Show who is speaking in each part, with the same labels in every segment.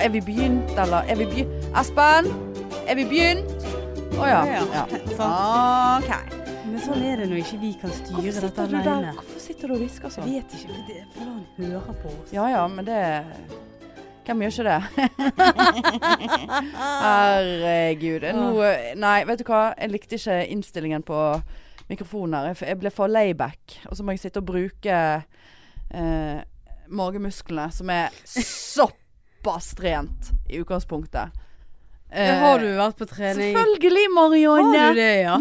Speaker 1: Er vi begynt, eller er vi begynt? Espen? Er vi begynt? Å ja. ja.
Speaker 2: Sant.
Speaker 1: OK.
Speaker 2: Men sånn er det når ikke vi kan styre
Speaker 1: Hvorfor
Speaker 2: dette
Speaker 1: sitter du der?
Speaker 2: alene.
Speaker 1: Hvorfor sitter du og hvisker
Speaker 2: Jeg
Speaker 1: sånn?
Speaker 2: vet ikke, for det- for han hører på oss.
Speaker 1: Ja ja, men det Hvem gjør ikke det?
Speaker 2: Ah. Eh,
Speaker 1: Herregud. Nå Nei, vet du hva. Jeg likte ikke innstillingen på mikrofonen her. Jeg f- Jeg ble for layback. Og så må jeg sitte og bruke eh, magemusklene, som er såpass trent i utgangspunktet.
Speaker 2: Ja,
Speaker 1: Eh,
Speaker 2: Har du vært på trening?
Speaker 1: Selvfølgelig, Marianne.
Speaker 2: Har du det, ja?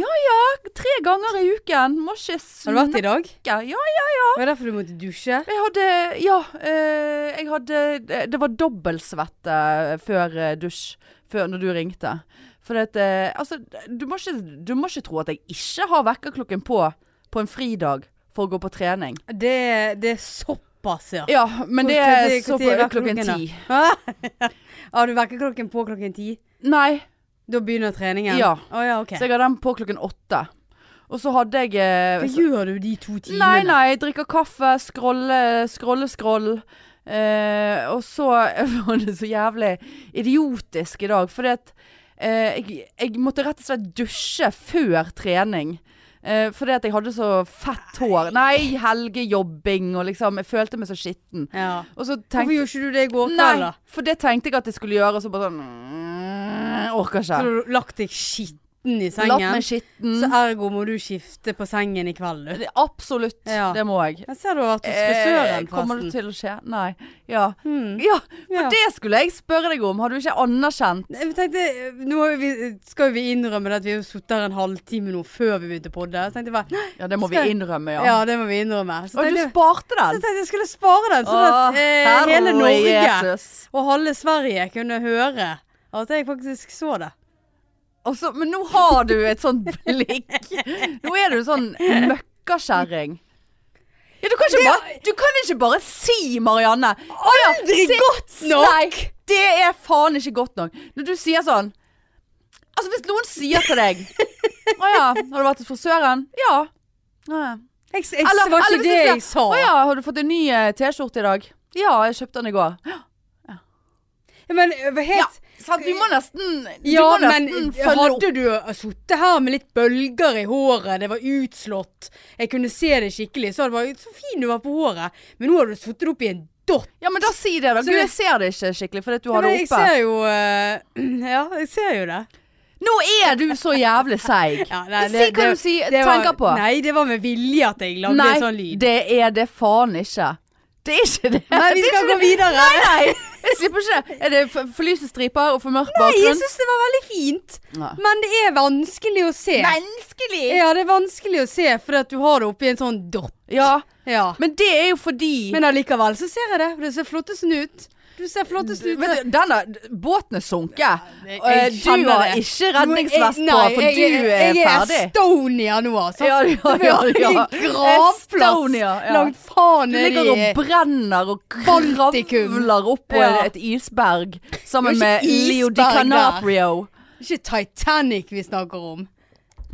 Speaker 1: Tre ganger i uken. Må ikke
Speaker 2: Har du vært det i dag?
Speaker 1: snakke. Ja,
Speaker 2: Var det derfor du måtte dusje?
Speaker 1: Jeg hadde Ja. eh, jeg hadde Det, det var dobbeltsvette før eh, dusj. Før når du ringte. For at eh, Altså, du må, ikke, du må ikke tro at jeg ikke har vekkerklokken på på en fridag for å gå på trening.
Speaker 2: Det, det er såpass, ja.
Speaker 1: Ja, men det
Speaker 2: Hvor-
Speaker 1: er
Speaker 2: hvor tid-
Speaker 1: så
Speaker 2: hvor tid
Speaker 1: på
Speaker 2: er
Speaker 1: klokken
Speaker 2: vekkerklokken
Speaker 1: ti.
Speaker 2: Har du vekkerklokken på klokken ti?
Speaker 1: Nei.
Speaker 2: Da begynner treningen?
Speaker 1: Ja.
Speaker 2: Å ja, ok.
Speaker 1: Så jeg har den på klokken åtte. Og så hadde jeg eh,
Speaker 2: Hva gjør du de to timene?
Speaker 1: Nei, nei, jeg drikker kaffe, scrolle, scrolle, scroll. Eh, og så var det så jævlig idiotisk i dag, fordi at eh, jeg, jeg måtte rett og slett dusje før trening. Eh, fordi at jeg hadde så fett hår. Nei, helgejobbing og liksom Jeg følte meg så skitten.
Speaker 2: Ja.
Speaker 1: Og så
Speaker 2: Hvorfor
Speaker 1: tenkte
Speaker 2: gjorde ikke du det i går kveld,
Speaker 1: Nei,
Speaker 2: da?
Speaker 1: for det tenkte jeg at jeg skulle gjøre, og så bare sånn mm, Orker
Speaker 2: Så
Speaker 1: ikke.
Speaker 2: har du lagt deg skitten i
Speaker 1: Latt meg
Speaker 2: sengen?
Speaker 1: skitten.
Speaker 2: Så ergo må du skifte på sengen i kveld, du.
Speaker 1: Det- Absolutt.
Speaker 2: Ja.
Speaker 1: Det må jeg.
Speaker 2: Jeg ser du har vært hos
Speaker 1: Eh,
Speaker 2: frisøren,
Speaker 1: kommer det
Speaker 2: forresten.
Speaker 1: til å skje? Nei. Ja.
Speaker 2: Hmm.
Speaker 1: Ja, for
Speaker 2: Ja.
Speaker 1: det skulle jeg spørre deg om. Har du ikke anerkjent?
Speaker 2: Jeg tenkte, nå har vi, skal jo vi innrømme det at vi har sittet her en halvtime nå før vi begynte på det. Så tenkte jeg bare, nei,
Speaker 1: Ja, det må vi
Speaker 2: Skal-
Speaker 1: innrømme,
Speaker 2: ja.
Speaker 1: ja.
Speaker 2: det må vi innrømme. Så
Speaker 1: Og du
Speaker 2: tenkte, jeg-
Speaker 1: sparte
Speaker 2: så
Speaker 1: den.
Speaker 2: tenkte jeg jeg skulle spare den, sånn
Speaker 1: Å,
Speaker 2: at eh,
Speaker 1: Herre
Speaker 2: hele Norge
Speaker 1: Jesus.
Speaker 2: og halve Sverige kunne høre at jeg faktisk så det.
Speaker 1: Og så- men nå har du et sånt blikk. Nå er du sånn møkkakjerring. Ja, du, kan ikke bare, du kan ikke bare si, Marianne Å ja,
Speaker 2: Aldri
Speaker 1: si-
Speaker 2: godt nok!
Speaker 1: Nei, det er faen ikke godt nok. Når du sier sånn Altså, hvis noen sier til deg Å ja, har du vært hos frisøren? Ja. ja.
Speaker 2: Jeg, jeg,
Speaker 1: Eller-
Speaker 2: det var
Speaker 1: eller
Speaker 2: ikke
Speaker 1: hvis
Speaker 2: det
Speaker 1: jeg sier,
Speaker 2: jeg sa.
Speaker 1: Å ja, har du fått en ny eh, T-skjorte i dag? Ja, jeg kjøpte den i går.
Speaker 2: Men eh, helt...
Speaker 1: Ja, sant, vi må nesten, vi
Speaker 2: Ja,
Speaker 1: må
Speaker 2: men eh,
Speaker 1: nesten følge opp.
Speaker 2: hadde du sittet her med litt bølger i håret, det var utslått, jeg kunne se det skikkelig, så hadde det vært så fin du var på håret. Men nå har du sittet opp i en dott.
Speaker 1: Ja, men da si det, da.
Speaker 2: Så
Speaker 1: Gud,
Speaker 2: det-
Speaker 1: jeg ser det ikke skikkelig fordi at du har
Speaker 2: men
Speaker 1: det
Speaker 2: jeg
Speaker 1: oppe.
Speaker 2: ser jo eh, Ja, jeg ser jo det.
Speaker 1: Nå er du så jævlig seig.
Speaker 2: Ja, nei,
Speaker 1: si hva du si,
Speaker 2: det var-
Speaker 1: tenker på.
Speaker 2: Nei, det var med vilje at jeg lagde
Speaker 1: Nei,
Speaker 2: en sånn lyd.
Speaker 1: det er det faen ikke. Det er ikke det.
Speaker 2: Nei, vi
Speaker 1: Det er
Speaker 2: skal
Speaker 1: ikke
Speaker 2: gå
Speaker 1: det.
Speaker 2: videre.
Speaker 1: Nei, nei. Jeg slipper ikke det. Er det for, for lyse striper og for mørk
Speaker 2: Nei, jeg
Speaker 1: bakgrunn?
Speaker 2: syns det var veldig fint,
Speaker 1: Ja.
Speaker 2: men det er vanskelig å se.
Speaker 1: Vanskelig!
Speaker 2: Ja, det er vanskelig å se fordi at du har det oppi en sånn dopp.
Speaker 1: Ja,
Speaker 2: Ja.
Speaker 1: men det er jo fordi
Speaker 2: Men allikevel så ser jeg det. Det ser flottesten ut. Du ser flottesten ut.
Speaker 1: Vet du, denne båten er sunket.
Speaker 2: Jeg
Speaker 1: Eh, Du
Speaker 2: kjenner
Speaker 1: har
Speaker 2: det.
Speaker 1: ikke redningsvest på, for
Speaker 2: jeg, jeg,
Speaker 1: du er
Speaker 2: jeg
Speaker 1: ferdig.
Speaker 2: er Estonia nå, altså.
Speaker 1: Ja, ja, ja, ja.
Speaker 2: Gravplass
Speaker 1: Estonia, ja.
Speaker 2: langt
Speaker 1: Du
Speaker 2: faen ned
Speaker 1: ligger og brenner og
Speaker 2: Baltikum.
Speaker 1: kravler oppå
Speaker 2: Ja.
Speaker 1: et isberg sammen
Speaker 2: Det er
Speaker 1: med
Speaker 2: jo ikke
Speaker 1: Leo Di
Speaker 2: isberg der.
Speaker 1: Canaprio.
Speaker 2: Ikke Titanic vi snakker om.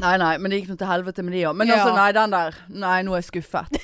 Speaker 1: Nei, nei, men det gikk nå til helvete med de òg. Men
Speaker 2: Ja.
Speaker 1: altså, nei, den der. Nei, nå er jeg skuffet.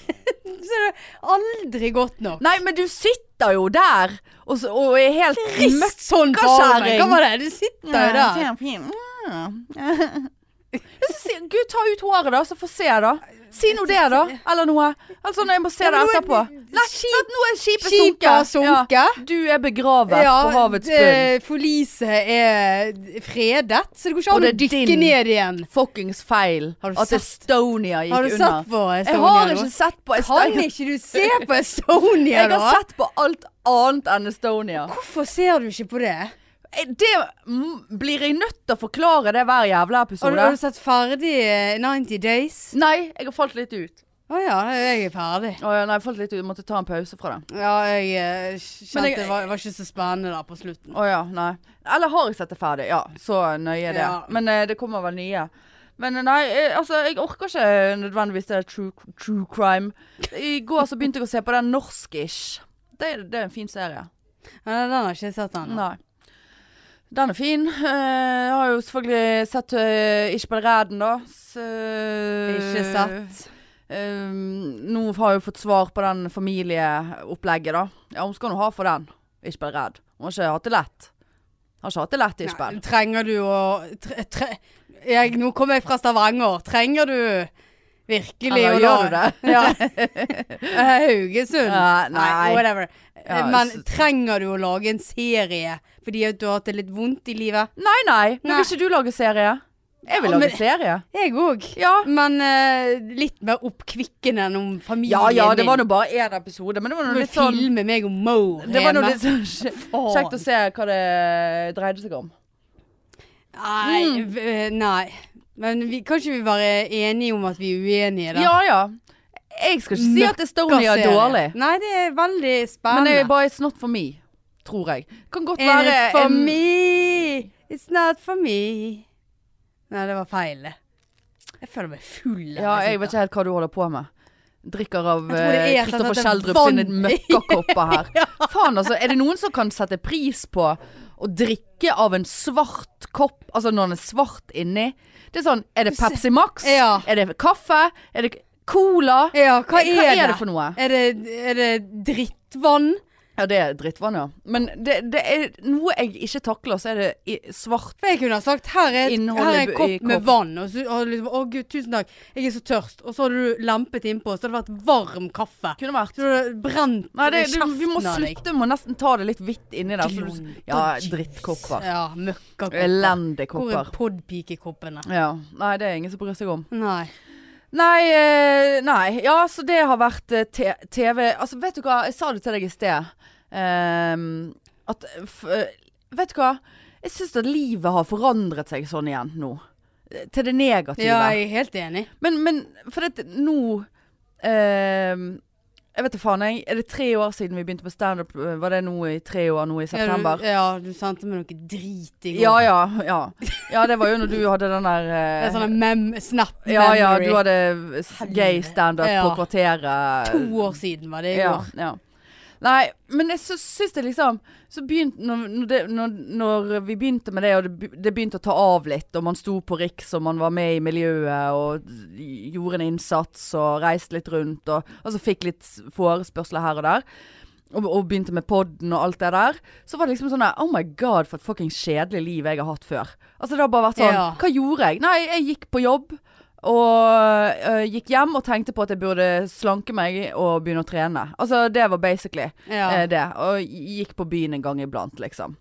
Speaker 2: Så er det aldri godt nok.
Speaker 1: Nei, men du sitter jo der og, så, og er helt møkk.
Speaker 2: Møtt sånn på armen. Hva var det? Du sitter jo der.
Speaker 1: Så sier- Gud, ta ut håret, da, så får se, da. Si nå det, da. Eller noe. Altså, når jeg må se
Speaker 2: Ja,
Speaker 1: det
Speaker 2: men nå er
Speaker 1: etterpå.
Speaker 2: det-
Speaker 1: Nei, sant, nå er skipet
Speaker 2: Skipet
Speaker 1: sunket.
Speaker 2: har sunket.
Speaker 1: Ja. Du er begravet på havets bunn.
Speaker 2: det- Forliset er fredet, så det går ikke
Speaker 1: Og
Speaker 2: an å
Speaker 1: det er
Speaker 2: dykke
Speaker 1: din.
Speaker 2: ned igjen.
Speaker 1: Fuckings feil
Speaker 2: Har du
Speaker 1: at
Speaker 2: sett-
Speaker 1: Estonia gikk
Speaker 2: Har du
Speaker 1: under.
Speaker 2: sett på Estonia?
Speaker 1: Jeg har
Speaker 2: nå?
Speaker 1: ikke sett på
Speaker 2: Kan
Speaker 1: Estonia.
Speaker 2: ikke du se på Estonia,
Speaker 1: Jeg
Speaker 2: da?
Speaker 1: har sett på alt annet enn Estonia.
Speaker 2: Hvorfor ser du ikke på det?
Speaker 1: Eh, Det mm, blir jeg nødt til å forklare det hver jævla
Speaker 2: Har du,
Speaker 1: episode.
Speaker 2: har du sett ferdig eh, 90 Days?
Speaker 1: Nei, jeg har falt litt ut.
Speaker 2: Å ja, jeg er ferdig.
Speaker 1: Å ja, nei, jeg falt litt ut. Jeg måtte ta en pause fra det.
Speaker 2: Ja, jeg eh, kjente
Speaker 1: jeg-
Speaker 2: det var, var ikke så spennende da på slutten.
Speaker 1: Å ja, nei. Eller har jeg sett det ferdig? Ja, så nøye det.
Speaker 2: Ja.
Speaker 1: Men eh, det kommer vel nye. Men eh, nei, eh, altså jeg orker ikke nødvendigvis det der true, true crime. I går så begynte jeg å se på den norsk-ish. Det, det er en fin serie.
Speaker 2: Nei, den har ikke jeg sett ennå.
Speaker 1: Nei. Den er fin. Eh, Jeg har jo selvfølgelig sett uh, Ikke på ræden, da. Så,
Speaker 2: Ikke sett.
Speaker 1: Eh, nå har jeg jo fått svar på den familieopplegget, da. Ja, hun skal nå ha for den. Ikke bare redd. Hun har ikke hatt det lett. Har ikke hatt det lett, Ishbel.
Speaker 2: Nei, trenger du å tre, tre, jeg, Nå kommer jeg fra Stavanger. Trenger du virkelig
Speaker 1: Eller
Speaker 2: å
Speaker 1: gjør du
Speaker 2: la-
Speaker 1: det?
Speaker 2: Ja. Eh, Haugesund.
Speaker 1: Ja, nei.
Speaker 2: whatever. Eh,
Speaker 1: Ja,
Speaker 2: Men
Speaker 1: s-
Speaker 2: trenger du å lage en serie fordi at du har hatt det litt vondt i livet?
Speaker 1: Nei, nei. Nå
Speaker 2: Nei.
Speaker 1: vil ikke du lage serie. Jeg vil
Speaker 2: Ja,
Speaker 1: lage
Speaker 2: men-
Speaker 1: serie.
Speaker 2: Jeg òg.
Speaker 1: Ja.
Speaker 2: Men eh, litt mer oppkvikkende enn om familien
Speaker 1: ja ja, det var
Speaker 2: din.
Speaker 1: nå bare én episode, men det var nå
Speaker 2: Du
Speaker 1: litt sånn
Speaker 2: filme meg og Mo
Speaker 1: Det var nå
Speaker 2: hjemme.
Speaker 1: litt sånn kje-
Speaker 2: Faen.
Speaker 1: kjekt å se hva det dreide seg om.
Speaker 2: Nei,
Speaker 1: Mm.
Speaker 2: v- eh, nei. Men vi, kan ikke vi være enige om at vi er uenige, da?
Speaker 1: Ja ja. Jeg skal ikke si at Estonia er
Speaker 2: Mørka serie.
Speaker 1: dårlig,
Speaker 2: Nei, det er veldig
Speaker 1: men
Speaker 2: spennende.
Speaker 1: det er bare it's not for me. Tror jeg. Kan godt
Speaker 2: And
Speaker 1: være
Speaker 2: it's for
Speaker 1: en-
Speaker 2: me, it's not for me. Nei, det var feil. det. Jeg føler meg full. altså.
Speaker 1: Ja, jeg vet ikke helt hva du holder på med. Drikker av
Speaker 2: Jeg tror det er
Speaker 1: eh,
Speaker 2: sånn
Speaker 1: Kristoffer
Speaker 2: at det er
Speaker 1: Schjelderup
Speaker 2: vann
Speaker 1: sine møkkakopper her. Faen, altså. Er det noen som kan sette pris på å drikke av en svart kopp, altså når den er svart inni? Det er sånn Er det Pepsi Max?
Speaker 2: Ja.
Speaker 1: Er det kaffe? Er det Cola? Eh,
Speaker 2: Ja, hva er,
Speaker 1: Hva er
Speaker 2: det?
Speaker 1: det for noe?
Speaker 2: Er det, er det drittvann?
Speaker 1: Ja, det er drittvann, ja. Men det, det er noe jeg ikke takler, så er det i svart
Speaker 2: For jeg kunne ha sagt her er, et, her
Speaker 1: Innholdet
Speaker 2: er en
Speaker 1: i
Speaker 2: kopp med
Speaker 1: koppen.
Speaker 2: vann. Og så har du liksom Å gud, tusen takk, jeg er så tørst. Og så hadde du lempet innpå, så hadde det vært varm kaffe.
Speaker 1: Kunne vært.
Speaker 2: Så hadde det brent
Speaker 1: Nei, det, du,
Speaker 2: kjeften
Speaker 1: vi må
Speaker 2: av deg.
Speaker 1: slutte. Vi må nesten ta det litt hvitt inni der. så du-
Speaker 2: Glonter,
Speaker 1: Ja,
Speaker 2: Jesus.
Speaker 1: drittkopper.
Speaker 2: Ja, møkkakopper.
Speaker 1: Elendige
Speaker 2: Hvor er
Speaker 1: kopper.
Speaker 2: podpikekoppene?
Speaker 1: Ja. Nei, det er ingen som bryr seg om.
Speaker 2: Nei.
Speaker 1: Nei, eh, nei. Ja, så det har vært eh, te- TV Altså, vet du hva? Jeg sa det til deg i sted. Ehm, at f eh, Vet du hva? Jeg syns at livet har forandret seg sånn igjen nå. Eh, Til det negative.
Speaker 2: Ja, jeg er helt enig.
Speaker 1: Men, men for dette nå ehm, Jeg vet da faen, jeg. Er det tre år siden vi begynte på standup? Eh, Var det nå i tre år nå i september?
Speaker 2: Ja, du, ja, du sendte meg noe drit i går.
Speaker 1: Ja, ja, ja. Ja, det var jo når du hadde den der
Speaker 2: Det er
Speaker 1: eh,
Speaker 2: sånn mem snap memory.
Speaker 1: Ja, ja, du hadde s-
Speaker 2: Helvete.
Speaker 1: gay standup
Speaker 2: Ja.
Speaker 1: på kvarteret.
Speaker 2: To år siden var det i
Speaker 1: ja,
Speaker 2: går.
Speaker 1: ja. Nei, men jeg sy- syns det liksom Så begynte når, når, det, når, når vi begynte med det, og det, be- det begynte å ta av litt, og man sto på Riks, og man var med i miljøet, og gjorde en innsats, og reiste litt rundt, og altså fikk litt s- forespørsler her og der, og, og begynte med podden og alt det der, så var det liksom sånn der Oh my god, for et fucking kjedelig liv jeg har hatt før. Altså det har bare vært sånn
Speaker 2: Ja.
Speaker 1: Hva gjorde jeg? Nei, jeg gikk på jobb. Og øh, gikk hjem og tenkte på at jeg burde slanke meg og begynne å trene. Altså, det var basically
Speaker 2: Ja.
Speaker 1: eh, det. Og gikk på byen en gang iblant, liksom.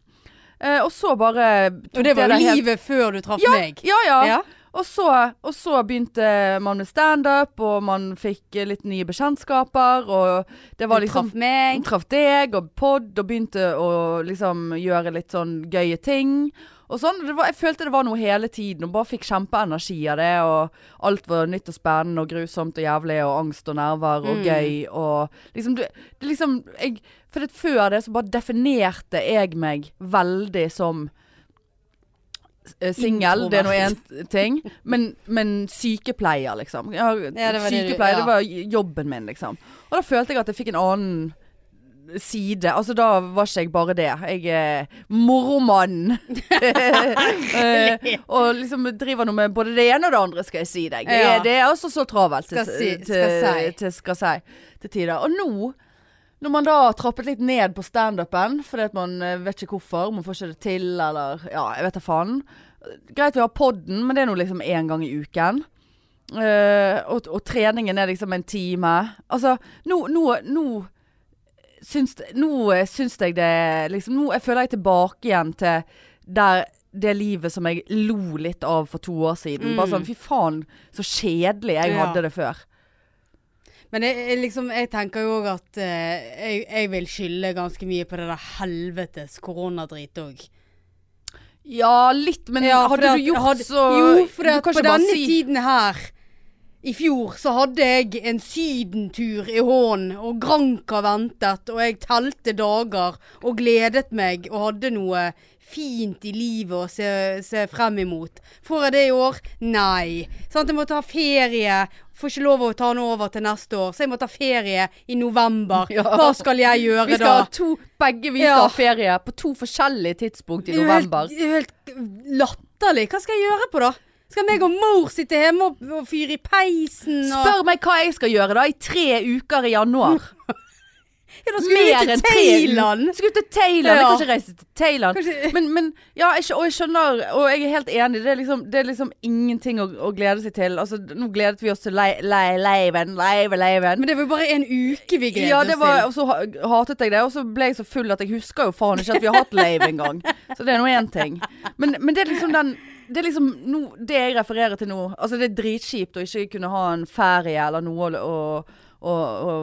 Speaker 1: Eh, og så bare
Speaker 2: Og det var
Speaker 1: det helt-
Speaker 2: livet før du traff meg.
Speaker 1: Ja ja.
Speaker 2: Ja.
Speaker 1: Og, så, og så begynte man med standup, og man fikk eh, litt nye bekjentskaper, og det var
Speaker 2: Du
Speaker 1: liksom
Speaker 2: traff meg.
Speaker 1: hun traff deg og pod og begynte å liksom gjøre litt sånn gøye ting. Og sånn, det var, jeg følte det var noe hele tiden og bare fikk kjempeenergi av det. Og alt var nytt og spennende og grusomt og jævlig og angst og nerver og
Speaker 2: Mm.
Speaker 1: gøy. Og liksom, du, det liksom jeg, For det, før det så bare definerte jeg meg veldig som eh, Singel, det er nå én ting, men, men sykepleier, liksom. Ja,
Speaker 2: det var det du-
Speaker 1: sykepleier,
Speaker 2: ja.
Speaker 1: det var j- jobben min, liksom. Og da følte jeg at jeg fikk en annen side. Altså da var ikke jeg bare det. Jeg er moromann. Eh, og liksom driver nå med både det ene og det andre, skal jeg si deg. Det,
Speaker 2: Ja.
Speaker 1: det er også så travelt til,
Speaker 2: Skal si-
Speaker 1: til,
Speaker 2: skal si.
Speaker 1: til, skal si, til tider. Og nå når man da har trappet litt ned på standupen, fordi at man eh, vet ikke hvorfor, man får ikke det til, eller ja, jeg vet da faen. Greit vi har podden, men det er nå liksom én gang i uken. Eh, og, og treningen er liksom en time. Altså, nå, nå, nå syns, nå eh, syns jeg det liksom, Nå jeg føler jeg tilbake igjen til der, det livet som jeg lo litt av for to år siden.
Speaker 2: Mm.
Speaker 1: Bare sånn fy faen, så kjedelig jeg
Speaker 2: Ja.
Speaker 1: hadde det før.
Speaker 2: Men jeg, jeg, liksom, jeg tenker jo òg at eh, jeg, jeg vil skylde ganske mye på det der helvetes koronadrit òg.
Speaker 1: Ja, litt, men
Speaker 2: Ja, for
Speaker 1: hadde
Speaker 2: at-
Speaker 1: du gjort
Speaker 2: hadde-
Speaker 1: så
Speaker 2: Jo, for
Speaker 1: du
Speaker 2: at
Speaker 1: kan
Speaker 2: på
Speaker 1: ikke bare
Speaker 2: denne
Speaker 1: si-
Speaker 2: tiden her i fjor så hadde jeg en sydentur i hånden, og Granca ventet, og jeg telte dager og gledet meg og hadde noe fint i livet å se, se frem imot. Får jeg det i år? Nei. Sant, jeg må ta ferie. Får ikke lov å ta den over til neste år, så jeg må ta ferie i november.
Speaker 1: Ja.
Speaker 2: Hva skal jeg gjøre
Speaker 1: Vi skal
Speaker 2: da?
Speaker 1: ha to, begge vi
Speaker 2: Ja.
Speaker 1: skal ha ferie på to forskjellige tidspunkt i
Speaker 2: Det er jo helt-
Speaker 1: november.
Speaker 2: det er jo Helt, latterlig. Hva skal jeg gjøre på da? Skal meg og mor sitte hjemme og, og fyre i peisen? Og... Mm.
Speaker 1: Spør meg hva jeg skal gjøre da i tre uker i januar.
Speaker 2: Ja, da skulle
Speaker 1: Mer
Speaker 2: vi
Speaker 1: enn
Speaker 2: til
Speaker 1: tre
Speaker 2: Thailand!
Speaker 1: uker. Skulle til Thailand. Jeg
Speaker 2: Ja.
Speaker 1: kan ikke reise til Thailand.
Speaker 2: Kanskje-
Speaker 1: Men, men ja, jeg, skjø- og jeg skjønner, og jeg er helt enig. Det er liksom, det er liksom ingenting å, å glede seg til. Altså, nå gledet vi oss til lei- lei- leiven, leive, leiven.
Speaker 2: Men det var jo bare en uke vi gledet
Speaker 1: Ja, det var,
Speaker 2: oss
Speaker 1: og så ha- hatet jeg det, og så ble jeg så full at jeg husker jo faen ikke at vi har hatt lave engang. Så det er nå én ting. Men, men det er liksom den Det er liksom nå- det jeg refererer til nå. Altså det er dritkjipt å ikke kunne ha en ferie eller noe å, å, å, å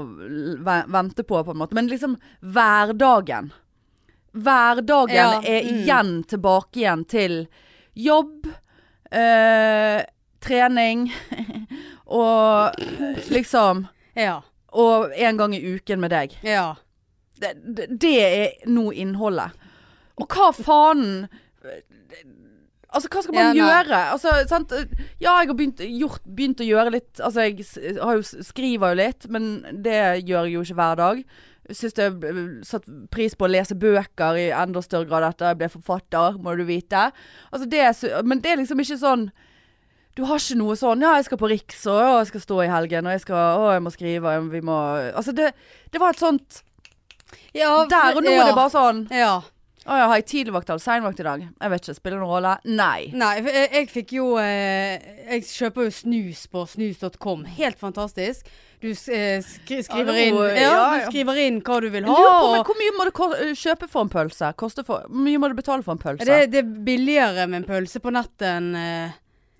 Speaker 1: ve- vente på, på en måte. Men liksom hverdagen. Hverdagen
Speaker 2: Ja,
Speaker 1: er
Speaker 2: mm.
Speaker 1: igjen tilbake igjen til jobb, eh, trening og liksom
Speaker 2: til. Ja.
Speaker 1: og en gang i uken med deg.
Speaker 2: Ja.
Speaker 1: Det, det, det er nå innholdet. Og hva faen Altså, hva skal man
Speaker 2: Ja, nei.
Speaker 1: gjøre? Altså, sant? Ja, jeg har begynt, gjort, begynt å gjøre litt Altså, jeg s- har jo, s- skriver jo litt, men det gjør jeg jo ikke hver dag. Syns jeg b- satt pris på å lese bøker i enda større grad etter jeg ble forfatter, må du vite. Altså, det, er s- men det er liksom ikke sånn du har ikke noe sånn 'ja, jeg skal på Riks', og 'å, jeg skal stå i helgen', og 'jeg skal, å, jeg må skrive', og 'vi må Altså, det, det var et sånt
Speaker 2: ja
Speaker 1: Der og nå er
Speaker 2: ja.
Speaker 1: det bare sånn
Speaker 2: Ja.
Speaker 1: Å ja, har jeg tidlig vakt eller sein vakt i dag? Jeg vet ikke, spiller det noen rolle? Nei.
Speaker 2: Nei, for jeg, jeg fikk jo eh, Jeg kjøper jo snus på snus.com. Helt fantastisk. Du s- eh, skri,
Speaker 1: Ja,
Speaker 2: skriver
Speaker 1: det
Speaker 2: inn
Speaker 1: var-
Speaker 2: ja,
Speaker 1: ja, ja.
Speaker 2: du skriver inn hva du vil
Speaker 1: Jeg
Speaker 2: ha.
Speaker 1: lurer på, men
Speaker 2: og-
Speaker 1: hvor mye må du ko- kjøpe for en pølse? Koster for, hvor mye må du betale for en pølse?
Speaker 2: det, det er billigere med en pølse på nettet enn eh,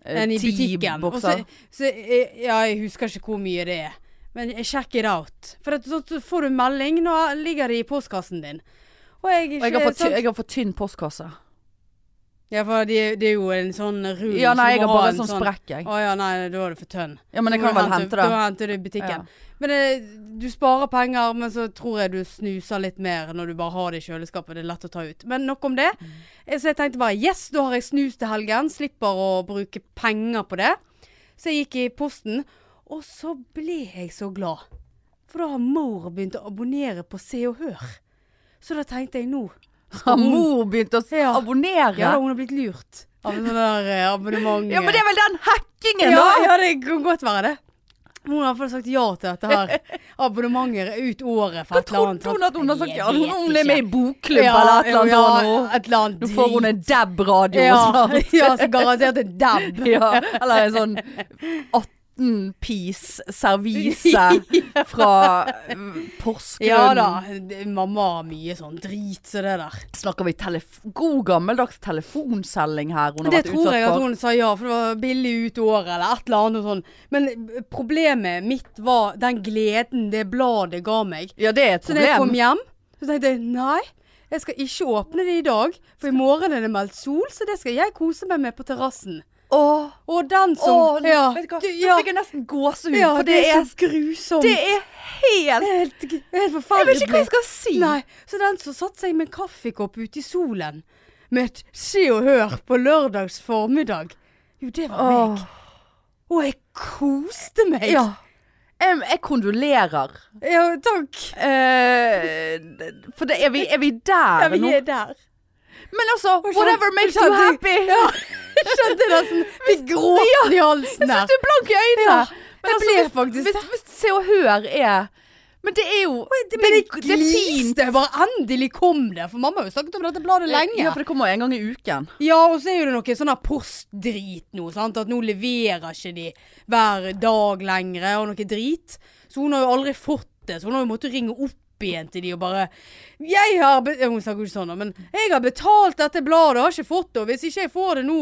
Speaker 1: Eh,
Speaker 2: enn i
Speaker 1: ti
Speaker 2: butikken. Og
Speaker 1: bokser.
Speaker 2: Så, så, eh, ja, jeg husker ikke hvor mye det er. Men check it out. For at, så, så får du en melding. Nå ligger det i postkassen din. Og jeg, sånn-
Speaker 1: Og jeg har, for ty, jeg har for tynn postkasse.
Speaker 2: Ja, for det, det er jo en sånn rund
Speaker 1: Ja, nei,
Speaker 2: så du
Speaker 1: jeg har
Speaker 2: må ha
Speaker 1: bare
Speaker 2: en
Speaker 1: sånn sprekk, jeg.
Speaker 2: Å ja, nei, da er det for tønn.
Speaker 1: Ja, men jeg
Speaker 2: Du må
Speaker 1: kan vel hente det.
Speaker 2: Da henter du i butikken.
Speaker 1: Ja.
Speaker 2: Men eh, du sparer penger, men så tror jeg du snuser litt mer når du bare har det i kjøleskapet. Det er lett å ta ut. Men nok om det.
Speaker 1: Mm.
Speaker 2: Eh, Så jeg tenkte bare yes, da har jeg snus til helgen. Slipper å bruke penger på det. Så jeg gikk i posten, og så ble jeg så glad. For da har mor begynt å abonnere på Se og Hør. Så da tenkte jeg nå
Speaker 1: Har mor begynt å s-
Speaker 2: Ja.
Speaker 1: abonnere? Ja,
Speaker 2: Ja, da, hun har blitt lurt av en sånn der eh, abonnement.
Speaker 1: men det er vel den hackingen,
Speaker 2: ja,
Speaker 1: da!
Speaker 2: ja, det kan godt være det. Hun har i hvert fall sagt ja til dette her. Abonnementer ut året for
Speaker 1: Hva
Speaker 2: et eller annet.
Speaker 1: trodde hun at hun har sagt?
Speaker 2: Jeg
Speaker 1: Ja, hun
Speaker 2: vet
Speaker 1: hun ble med i
Speaker 2: ikke.
Speaker 1: bokklubb eller et eller annet.
Speaker 2: Ja,
Speaker 1: da nå.
Speaker 2: et eller annet.
Speaker 1: Nå får hun en dab-radio altså.
Speaker 2: ja,
Speaker 1: snart.
Speaker 2: ja, så garantert en dab.
Speaker 1: Ja, eller en sånn 18-piece servise fra mm, Porsgrunn.
Speaker 2: Ja da. det- Mamma har mye sånn drit, så det der.
Speaker 1: Snakker vi telef god gammeldags telefonselging her? Hun har
Speaker 2: Det
Speaker 1: vært
Speaker 2: tror jeg
Speaker 1: utsatt
Speaker 2: at
Speaker 1: for.
Speaker 2: hun sa ja, for det var billig ut året eller et eller annet sånn. Men problemet mitt var den gleden det bladet ga meg.
Speaker 1: Ja, det er et
Speaker 2: Så da jeg
Speaker 1: problem.
Speaker 2: kom hjem, så tenkte jeg nei, jeg skal ikke åpne det i dag. For i morgen er det meldt sol, så det skal jeg kose meg med på terrassen.
Speaker 1: Åh,
Speaker 2: Og den som
Speaker 1: åh,
Speaker 2: ja,
Speaker 1: vet du hva?
Speaker 2: du-
Speaker 1: Nå
Speaker 2: ja,
Speaker 1: fikk jeg nesten gåsehud,
Speaker 2: ja,
Speaker 1: for det er,
Speaker 2: så grusomt.
Speaker 1: det er helt
Speaker 2: helt, helt
Speaker 1: Jeg
Speaker 2: forferdelig.
Speaker 1: vet ikke hva jeg skal si.
Speaker 2: Nei, så den som satte seg med en kaffekopp ute i solen med et Se og Hør på lørdags formiddag Jo, det var
Speaker 1: Åh.
Speaker 2: meg. Og jeg koste meg.
Speaker 1: Ja. Em, jeg kondolerer.
Speaker 2: Ja, takk.
Speaker 1: Eh, for det, er, vi, er vi der
Speaker 2: Ja, vi
Speaker 1: nå?
Speaker 2: er der.
Speaker 1: Men altså,
Speaker 2: sant?
Speaker 1: whatever makes
Speaker 2: Ikke
Speaker 1: you
Speaker 2: sant?
Speaker 1: happy.
Speaker 2: Skjønte det sånn. Vi gråter i halsen
Speaker 1: Jeg
Speaker 2: her.
Speaker 1: syns du er blank i øynene.
Speaker 2: Ja,
Speaker 1: men
Speaker 2: jeg
Speaker 1: altså,
Speaker 2: ble
Speaker 1: hvis,
Speaker 2: faktisk
Speaker 1: hvis, hvis Se og Hør er Men det er jo
Speaker 2: Det, men jeg
Speaker 1: det er fint.
Speaker 2: gliste. Jeg bare endelig kom det. For mamma har jo snakket om dette bladet lenge.
Speaker 1: Ja, for det kommer en gang i uken.
Speaker 2: Ja, og så er jo det noe sånn her postdrit nå, sant. At nå leverer ikke de hver dag lenger, og noe drit. Så hun har jo aldri fått det. Så hun har jo måttet ringe opp igjen til de og bare Jeg har be Hun snakker jo ikke sånn, da, men jeg har betalt dette bladet, har ikke fått det. Og hvis ikke jeg får det nå,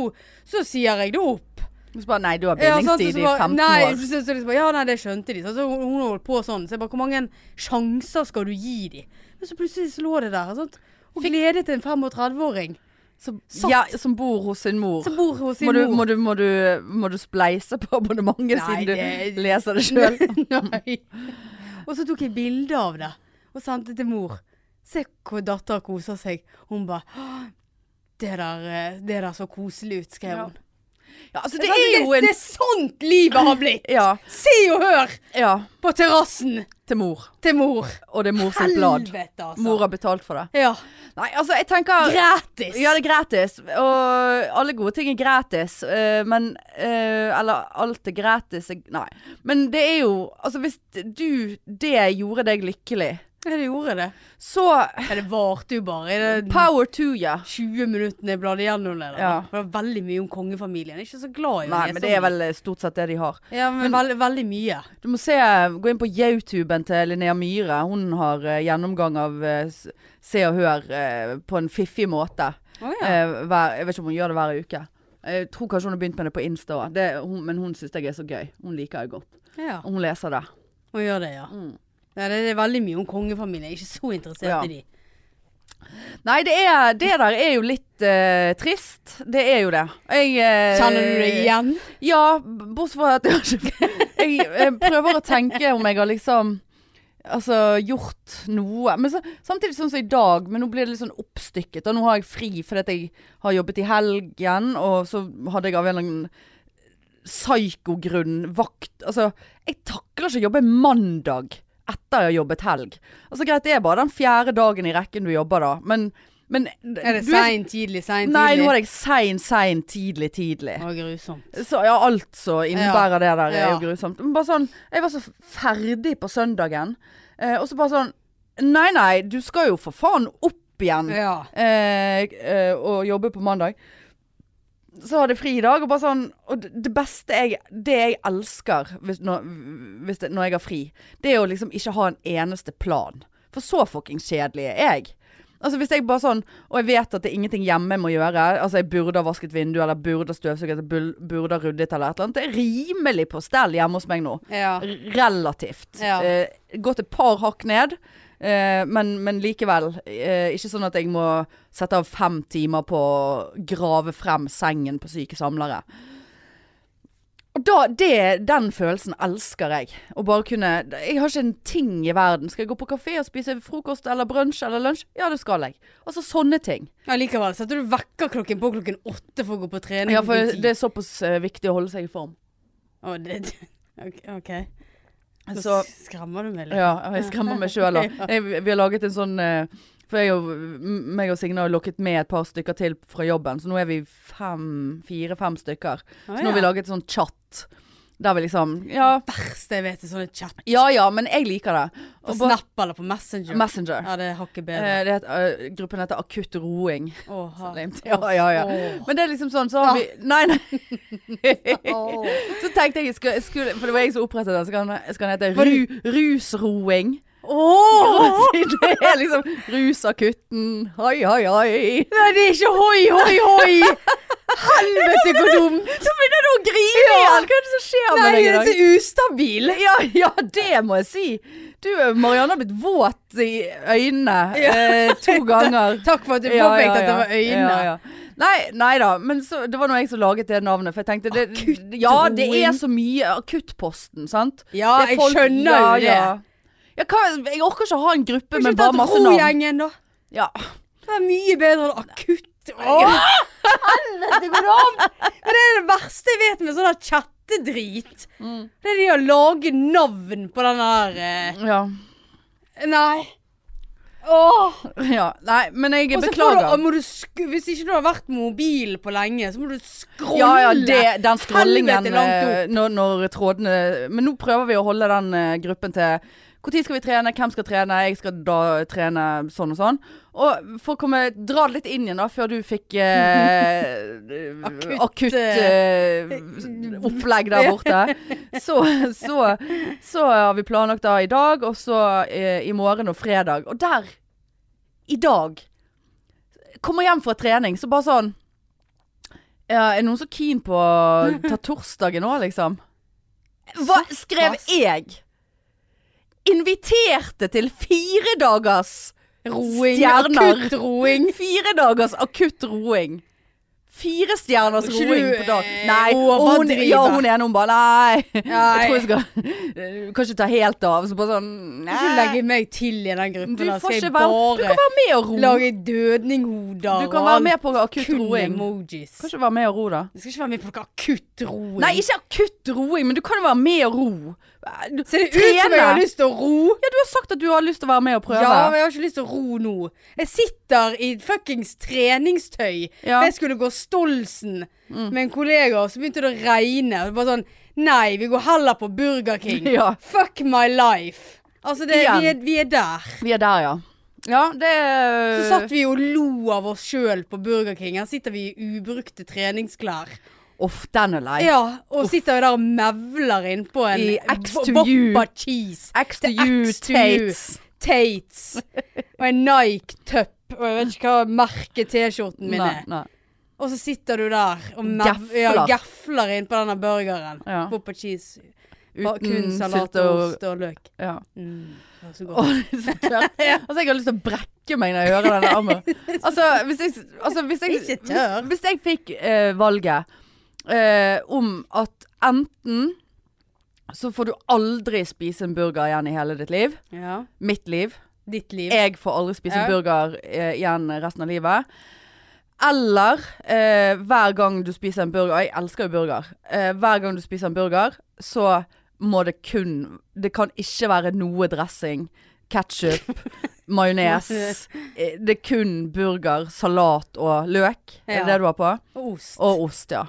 Speaker 2: så sier jeg det opp.
Speaker 1: Og så bare Nei, du har
Speaker 2: Ja, sant, og
Speaker 1: bindingstid
Speaker 2: så
Speaker 1: i
Speaker 2: bare-
Speaker 1: 15
Speaker 2: nei,
Speaker 1: år.
Speaker 2: Så, så, så liksom, ja, nei, det skjønte de. sant? Så hun, hun holdt på sånn. Så jeg bare Hvor mange sjanser skal du gi dem? Men så plutselig så lå det der. Sant? Og gledet en 35-åring
Speaker 1: Som,
Speaker 2: satt.
Speaker 1: ja, som bor hos sin mor.
Speaker 2: som bor hos sin
Speaker 1: Må du,
Speaker 2: mor.
Speaker 1: må, du, må, du, må du spleise på abonnementet
Speaker 2: Nei,
Speaker 1: siden du
Speaker 2: det-
Speaker 1: leser det sjøl?
Speaker 2: Nei. Og så tok jeg bilde av det og sendte til mor. Se hvor datteren koser seg. Hun bare «Åh, det der, eh, det der så koselig ut, skrev
Speaker 1: Ja.
Speaker 2: hun.
Speaker 1: Ja, altså,
Speaker 2: Det
Speaker 1: det er jo en
Speaker 2: det er sånt livet har blitt!
Speaker 1: Ja.
Speaker 2: Se og hør!
Speaker 1: ja
Speaker 2: På terrassen
Speaker 1: til mor.
Speaker 2: til mor.
Speaker 1: Og det er mor sitt blad.
Speaker 2: Helvete, altså.
Speaker 1: Mor har betalt for det.
Speaker 2: Ja.
Speaker 1: Nei, altså, jeg tenker
Speaker 2: Gratis!
Speaker 1: Ja, det er gratis. Og alle gode ting er gratis. eh, men eh, Eller alt er gratis. er- Nei. Men det er jo Altså, hvis du Det gjorde deg lykkelig
Speaker 2: Ja, det gjorde det.
Speaker 1: Så
Speaker 2: Ja, det varte jo bare. i det-
Speaker 1: power to, ja.
Speaker 2: 20 minuttene jeg bladde gjennom det. da.
Speaker 1: Ja.
Speaker 2: For det var veldig mye om kongefamilien. Jeg er ikke så glad i å
Speaker 1: Nei,
Speaker 2: lese
Speaker 1: men det er
Speaker 2: om
Speaker 1: vel eh, stort sett det de har.
Speaker 2: Ja, men, veld, veldig mye.
Speaker 1: Du må se, gå inn på YouTuben til Linnea Myhre. Hun har eh, gjennomgang av eh, s- Se og Hør eh, på en fiffig måte. Eh, hver, jeg vet ikke om hun gjør det hver uke. Jeg tror kanskje hun har begynt med det på Insta òg, men hun syns jeg er så gøy. Hun liker jeg godt.
Speaker 2: ja.
Speaker 1: Hun leser det.
Speaker 2: Hun gjør det, ja.
Speaker 1: Mm.
Speaker 2: ja det, det er veldig mye om kongefamilien. Jeg er ikke så interessert
Speaker 1: Ja.
Speaker 2: i de.
Speaker 1: Nei, det, er, det der er jo litt eh, trist. Det er jo det. Jeg, eh,
Speaker 2: Kjenner du det igjen?
Speaker 1: Ja, b- bortsett fra at jeg, har ikke- jeg, jeg prøver å tenke om jeg har liksom Altså gjort noe. Men så, samtidig sånn som i dag, men nå blir det litt sånn oppstykket. Og nå har jeg fri fordi at jeg har jobbet i helgen, og så hadde jeg av en eller annen psykogrunn vakt Altså, jeg takler ikke å jobbe mandag etter jeg har jobbet helg. Altså greit, det er bare den fjerde dagen i rekken du jobber da, men, men
Speaker 2: Er det
Speaker 1: du
Speaker 2: seint, tidlig, seint,
Speaker 1: Nei, nå
Speaker 2: tidlig?
Speaker 1: er jeg sein, sein, tidlig, tidlig.
Speaker 2: Å, grusomt.
Speaker 1: Så ja, alt som innebærer det der er
Speaker 2: Ja.
Speaker 1: jo grusomt. Men bare sånn, jeg var så ferdig på søndagen, eh, og så bare sånn Nei, nei, du skal jo for faen opp igjen
Speaker 2: Ja.
Speaker 1: eh, eh, og jobbe på mandag. Så hadde jeg fri i dag, og bare sånn Og det- det beste jeg Det jeg elsker hvis, når, hvis det, når jeg har fri, det er å liksom ikke ha en eneste plan. For så fuckings kjedelig er jeg. Altså hvis jeg bare sånn Og jeg vet at det er ingenting hjemme jeg må gjøre. Altså jeg burde ha vasket vinduet, eller burde ha støvsuget, eller bul- burde ha ryddet, eller et eller annet. Det er rimelig på stell hjemme hos meg nå.
Speaker 2: Ja.
Speaker 1: Relativt.
Speaker 2: Ja.
Speaker 1: Eh, gått et par hakk ned, eh, men, men likevel. Eh, ikke sånn at jeg må sette av fem timer på å grave frem sengen på syke samlere. Og da, det, Den følelsen elsker jeg. Å bare kunne Jeg har ikke en ting i verden. Skal jeg gå på kafé og spise frokost eller brunsj eller lunsj? Ja, det skal jeg. Altså sånne ting.
Speaker 2: ja likevel setter du vekkerklokken på klokken åtte for å gå på trening.
Speaker 1: Ja, for
Speaker 2: klokken ti.
Speaker 1: det er såpass eh, viktig å holde seg i form.
Speaker 2: Å, det- Ok, OK. Nå
Speaker 1: Så
Speaker 2: skremmer du meg litt.
Speaker 1: Ja, jeg skremmer meg sjøl, da. Jeg, vi har laget en sånn eh, For jeg og, m- meg og Signe har lokket med et par stykker til fra jobben, så nå er vi fem, fire-fem stykker. Så nå har vi laget en sånn chat der vi liksom Ja,
Speaker 2: verste jeg vet, er sånne chat
Speaker 1: ja, ja men jeg liker det.
Speaker 2: på
Speaker 1: Og bare-
Speaker 2: Snap eller på Messenger.
Speaker 1: Messenger.
Speaker 2: ja, det er hakket bedre.
Speaker 1: Eh, det heter, eh, gruppen heter Akutt roing.
Speaker 2: Åh,
Speaker 1: Eh, Så limt. Ja, ja, ja.
Speaker 2: Åh. Ah.
Speaker 1: Men det er liksom sånn, så har vi Nei, nei.
Speaker 2: Åh.
Speaker 1: Så tenkte jeg, skulle, skulle, for det var jeg som opprettet den, så kan den- så kan den hete
Speaker 2: Var
Speaker 1: ru, Rusroing.
Speaker 2: Åh!
Speaker 1: Siden det er liksom rusakutten, hoi, hoi, hoi.
Speaker 2: Nei, det er ikke hoi, hoi, hoi! Helvete, hvor dum!
Speaker 1: Så begynner du å grine igjen! Hva er det som skjer
Speaker 2: Nei,
Speaker 1: med deg
Speaker 2: jeg
Speaker 1: i
Speaker 2: er
Speaker 1: dag?
Speaker 2: så ustabil.
Speaker 1: Ja, ja, det må jeg si. Du, Marianne har blitt våt i øynene
Speaker 2: Ja.
Speaker 1: eh, to ganger.
Speaker 2: Takk for at du
Speaker 1: Ja, ja,
Speaker 2: påpekte at det
Speaker 1: ja.
Speaker 2: var øynene.
Speaker 1: Ja, ja. Nei, nei da, men så, det var nå jeg som laget det navnet, for jeg tenkte det, Ja, det er så mye akuttposten, sant?
Speaker 2: Ja,
Speaker 1: Det er
Speaker 2: jeg
Speaker 1: folk-
Speaker 2: skjønner
Speaker 1: ja,
Speaker 2: jo det.
Speaker 1: ja. Ja, hva, jeg orker ikke å ha en gruppe
Speaker 2: Men
Speaker 1: med
Speaker 2: bare
Speaker 1: bare masse navn.
Speaker 2: da.
Speaker 1: Ja.
Speaker 2: Det er mye bedre enn akutt.
Speaker 1: Åh!
Speaker 2: Helvete, hvor dum! Men Det er det verste jeg vet med sånn der chattedrit. Det er det å lage navn på den der eh,
Speaker 1: ja.
Speaker 2: Nei. Åh!
Speaker 1: ja. Nei, men jeg
Speaker 2: Og så får
Speaker 1: beklager.
Speaker 2: du, må du sk hvis ikke du har vært mobil på lenge, så må du skrolle.
Speaker 1: Ja, ja, det, den scrollingen
Speaker 2: Helvete langt opp.
Speaker 1: eh, når, når trådene Men nå prøver vi å holde den eh, gruppen til når skal vi trene, hvem skal trene, jeg skal da trene sånn og sånn. Og for å komme, dra det litt inn igjen da, før du fikk eh,
Speaker 2: Akutt,
Speaker 1: akutt eh, opplegg der borte. Så, så, så har vi planlagt da i dag, og så eh, i morgen og fredag. Og der, i dag, kommer hjem fra trening, så bare sånn ja, er noen så keen på å ta torsdagen òg, liksom? Hva skrev
Speaker 2: Såpass.
Speaker 1: jeg? Inviterte til fire dagers
Speaker 2: Roing.
Speaker 1: Stjerner.
Speaker 2: Akutt roing.
Speaker 1: Fire dagers akutt roing. Fire stjerners
Speaker 2: Må ikke
Speaker 1: roing
Speaker 2: du,
Speaker 1: på dag.
Speaker 2: eh,
Speaker 1: Nei, og hun,
Speaker 2: overdrive.
Speaker 1: ja, hun ene hun bare Nei, jeg
Speaker 2: Nei.
Speaker 1: tror jeg skal Du kan ikke ta helt av. Så bare sånn
Speaker 2: Kan ikke du
Speaker 1: Nei.
Speaker 2: legge meg til i den gruppen?
Speaker 1: Du
Speaker 2: da
Speaker 1: får
Speaker 2: skal jeg
Speaker 1: ikke være Du
Speaker 2: bare
Speaker 1: kan være med og ro.
Speaker 2: lage dødninghoder
Speaker 1: Du kan være med på akutt
Speaker 2: kun
Speaker 1: roing.
Speaker 2: emojis.
Speaker 1: Kan ikke være med og ro, da.
Speaker 2: Jeg skal ikke være med på noe akutt roing.
Speaker 1: Nei, ikke akutt roing, men du kan jo være med og ro. Du-
Speaker 2: Ser det ut som jeg har lyst til å ro?
Speaker 1: Ja, du har sagt at du har lyst til å være med og prøve.
Speaker 2: Ja, men jeg har ikke lyst til å ro nå. Jeg sitter i fuckings treningstøy.
Speaker 1: Ja. Mm.
Speaker 2: Jeg skulle gå Stolsen med en kollega, og så begynte det å regne. Og det var sånn Nei, vi går heller på Burger King.
Speaker 1: Ja.
Speaker 2: Fuck my life. Altså, det,
Speaker 1: Igjen.
Speaker 2: vi, er, vi er der.
Speaker 1: Vi er der, ja. Ja, det Eh.
Speaker 2: Så satt vi og lo av oss sjøl på Burger King. Her sitter vi i ubrukte treningsklær.
Speaker 1: Uff, den er lei.
Speaker 2: Ja, og sitter jo der og mevler innpå en
Speaker 1: I X
Speaker 2: bo-
Speaker 1: to you.
Speaker 2: Boppa cheese.
Speaker 1: X to
Speaker 2: Det er
Speaker 1: you,
Speaker 2: X to you.
Speaker 1: Tates.
Speaker 2: Tates. Og en Nike-tupp. Og jeg vet ikke hva merket T-skjorten min
Speaker 1: Nei,
Speaker 2: er.
Speaker 1: nei.
Speaker 2: Og så sitter du der og mev-
Speaker 1: Gafler.
Speaker 2: ja, gafler innpå denne burgeren.
Speaker 1: Ja.
Speaker 2: Boppa cheese. Ba- Kun
Speaker 1: Uten
Speaker 2: salat
Speaker 1: sylt
Speaker 2: og
Speaker 1: og
Speaker 2: ost og løk.
Speaker 1: ja.
Speaker 2: Mm, det var så
Speaker 1: Åh,
Speaker 2: godt.
Speaker 1: det er så tørt. Altså, jeg har lyst til å brekke meg når jeg hører den armen. Altså, hvis jeg, altså, hvis jeg,
Speaker 2: Ikke tørr.
Speaker 1: hvis, hvis jeg fikk eh, valget eh, om at enten så får du aldri spise en burger igjen i hele ditt liv.
Speaker 2: Ja.
Speaker 1: Mitt liv.
Speaker 2: Ditt liv.
Speaker 1: Jeg får aldri spise
Speaker 2: Ja.
Speaker 1: en burger eh, igjen resten av livet. Eller eh, hver gang du spiser en burger Jeg elsker jo burger. Eh, hver gang du spiser en burger, så må det kun Det kan ikke være noe dressing. Ketsjup, majones. eh, Det er kun burger, salat og løk. Er
Speaker 2: Ja.
Speaker 1: det det du har på?
Speaker 2: Og ost.
Speaker 1: Og ost, ja.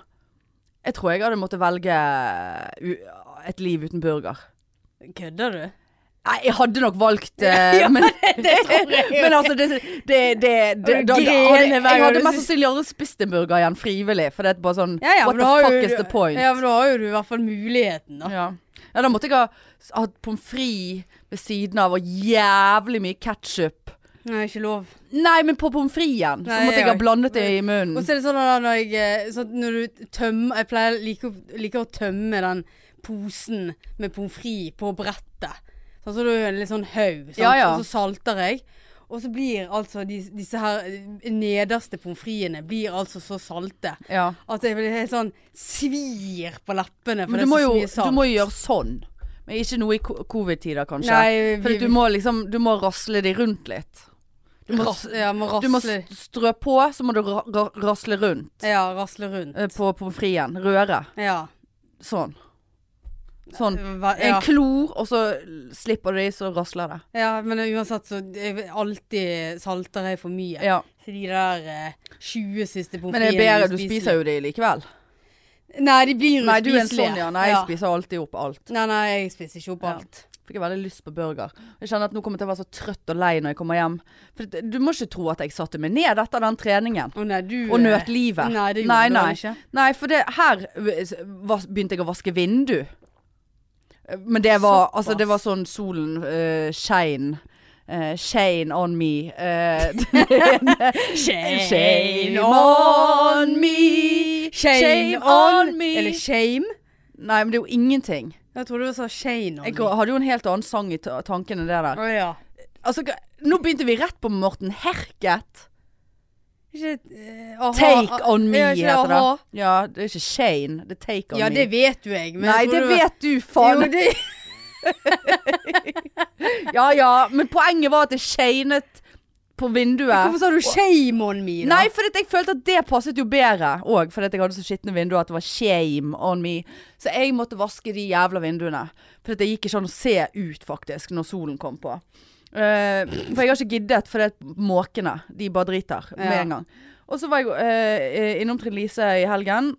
Speaker 1: Jeg tror jeg hadde måttet velge u- et liv uten burger.
Speaker 2: Kødder du?
Speaker 1: Nei, jeg hadde nok valgt eh, men, men altså, det, det, det, det
Speaker 2: Og du
Speaker 1: da- da-
Speaker 2: grener
Speaker 1: hadde-
Speaker 2: hver gang
Speaker 1: Jeg hadde
Speaker 2: du
Speaker 1: mest
Speaker 2: syns-
Speaker 1: sannsynlig aldri spist en burger igjen frivillig. For det er bare sånn
Speaker 2: Ja, ja,
Speaker 1: What
Speaker 2: men
Speaker 1: the
Speaker 2: da har
Speaker 1: fuck
Speaker 2: jo
Speaker 1: is
Speaker 2: du-
Speaker 1: the point?
Speaker 2: Ja, men da har jo du i hvert fall muligheten, da.
Speaker 1: Ja. ja, da måtte jeg ha s- hatt pommes frites ved siden av og jævlig mye ketsjup.
Speaker 2: Nei, ikke lov.
Speaker 1: Nei, men på pommes fritesen. Så
Speaker 2: Nei,
Speaker 1: måtte jeg
Speaker 2: ja.
Speaker 1: ha blandet det i
Speaker 2: Og
Speaker 1: munnen.
Speaker 2: så er det sånn at når jeg eh, sånn at når du tømmer Jeg pleier like, å- liker å tømme den posen med pommes frites på brettet. Sånn, så du er en litt sånn haug, sant?
Speaker 1: Ja, ja.
Speaker 2: og så salter jeg. Og så blir altså de, disse her eh, nederste pommes fritesene blir altså så salte
Speaker 1: Ja.
Speaker 2: at jeg blir helt sånn svir på leppene. For
Speaker 1: Men du
Speaker 2: det er
Speaker 1: må,
Speaker 2: så
Speaker 1: jo,
Speaker 2: mye salt.
Speaker 1: du må jo gjøre sånn. Men ikke noe i ko- covid-tider, kanskje.
Speaker 2: Nei,
Speaker 1: For at du må liksom Du må rasle de rundt litt. Du må,
Speaker 2: ras, ja, må rasle,
Speaker 1: du må s- strø på, så må du ra ra rasle rundt
Speaker 2: ja, rasle rundt.
Speaker 1: eh, på pommes fritesen. Røre.
Speaker 2: Ja.
Speaker 1: Sånn. Sånn.
Speaker 2: Hva-
Speaker 1: En
Speaker 2: ja.
Speaker 1: klor, og så slipper du i, så rasler det.
Speaker 2: Ja, men uansett så jeg, alltid salter jeg for mye.
Speaker 1: Ja.
Speaker 2: Så de der eh, 20 siste pommes
Speaker 1: Men det er bedre,
Speaker 2: frites
Speaker 1: du spiser jo de likevel.
Speaker 2: Nei, de blir jo
Speaker 1: Nei, du er en
Speaker 2: spiselige.
Speaker 1: sånn, ja. Nei, jeg spiser alltid opp alt.
Speaker 2: Nei, nei, jeg spiser ikke opp
Speaker 1: Ja.
Speaker 2: alt.
Speaker 1: Fikk jeg veldig lyst på burger. Jeg kjenner at nå kommer jeg til å være så trøtt og lei når jeg kommer hjem. For det- du må ikke tro at jeg satte meg ned etter den treningen.
Speaker 2: Å nei, du
Speaker 1: Og
Speaker 2: eh,
Speaker 1: nøt livet.
Speaker 2: Nei, det gjorde
Speaker 1: Nei, nei.
Speaker 2: du vel ikke.
Speaker 1: Nei, for det, her v- s- vas- begynte jeg å vaske vindu. Men det var,
Speaker 2: Såpass.
Speaker 1: altså, det var sånn solen uh, shine. eh, shine on me. eh,
Speaker 2: Shame on
Speaker 1: me.
Speaker 2: Shame,
Speaker 1: Shame
Speaker 2: on,
Speaker 1: on me.
Speaker 2: Eller shame?
Speaker 1: Nei, men det er jo ingenting.
Speaker 2: Jeg trodde du sa shame on
Speaker 1: Jeg hadde jo en helt annen sang i ta- tankene det der.
Speaker 2: Å ja.
Speaker 1: Altså, g- nå begynte vi rett på Morten Herket.
Speaker 2: Ikke, eh, aha,
Speaker 1: Take
Speaker 2: ah,
Speaker 1: on me
Speaker 2: ja, ikke
Speaker 1: heter det.
Speaker 2: aha.
Speaker 1: Ja, det er ikke Shane, det er Take on
Speaker 2: Ja,
Speaker 1: me.
Speaker 2: det vet jo jeg. Men
Speaker 1: Nei,
Speaker 2: jeg
Speaker 1: det
Speaker 2: trodde du-
Speaker 1: vet du,
Speaker 2: jo,
Speaker 1: faen.
Speaker 2: det,
Speaker 1: Ja ja, men poenget var at det shainet på vinduet.
Speaker 2: Hvorfor sa du shame on me? da?
Speaker 1: Nei, for jeg følte at det passet jo bedre òg, fordi at jeg hadde så skitne vinduer at det var shame on me. Så jeg måtte vaske de jævla vinduene. For det gikk ikke an å se ut, faktisk, når solen kom på. Eh, for jeg har ikke giddet, for det er måkene. De bare driter med
Speaker 2: Ja.
Speaker 1: en gang. Og så var jeg eh, innom Trine Lise i helgen,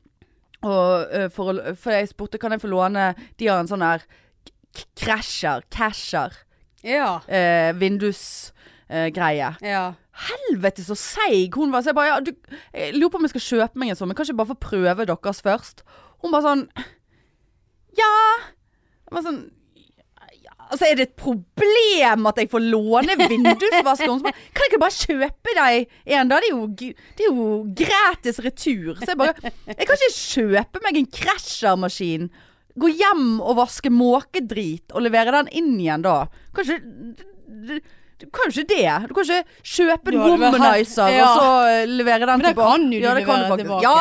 Speaker 1: og, eh, for, å- for jeg spurte kan jeg få låne De har en sånn her k- k- krasjer, casher,
Speaker 2: Ja.
Speaker 1: eh, vindusgreie
Speaker 2: ja.
Speaker 1: helvete så seig hun var. Så jeg bare ja, du, Jeg lurer på om jeg skal kjøpe meg en sånn, men kan ikke jeg bare få prøve deres først? Hun bare sånn Ja. Jeg bare sånn ja, Altså, er det et problem at jeg får låne vindusvasker? Hun så bare, Kan jeg ikke bare kjøpe deg en, da? Det er jo, g- det er jo gratis retur. Så jeg bare Jeg kan ikke kjøpe meg en krasjermaskin. Gå hjem og vaske måkedrit og levere den inn igjen da. Kanskje Du kan jo ikke det. Du kan ikke kjøpe en
Speaker 2: Du hadde vel hatt-
Speaker 1: womanizer
Speaker 2: ja.
Speaker 1: og så eh, levere den
Speaker 2: Men det
Speaker 1: tilbake.
Speaker 2: kan jo du
Speaker 1: ja, det kan
Speaker 2: levere
Speaker 1: du faktisk.
Speaker 2: tilbake.
Speaker 1: Ja,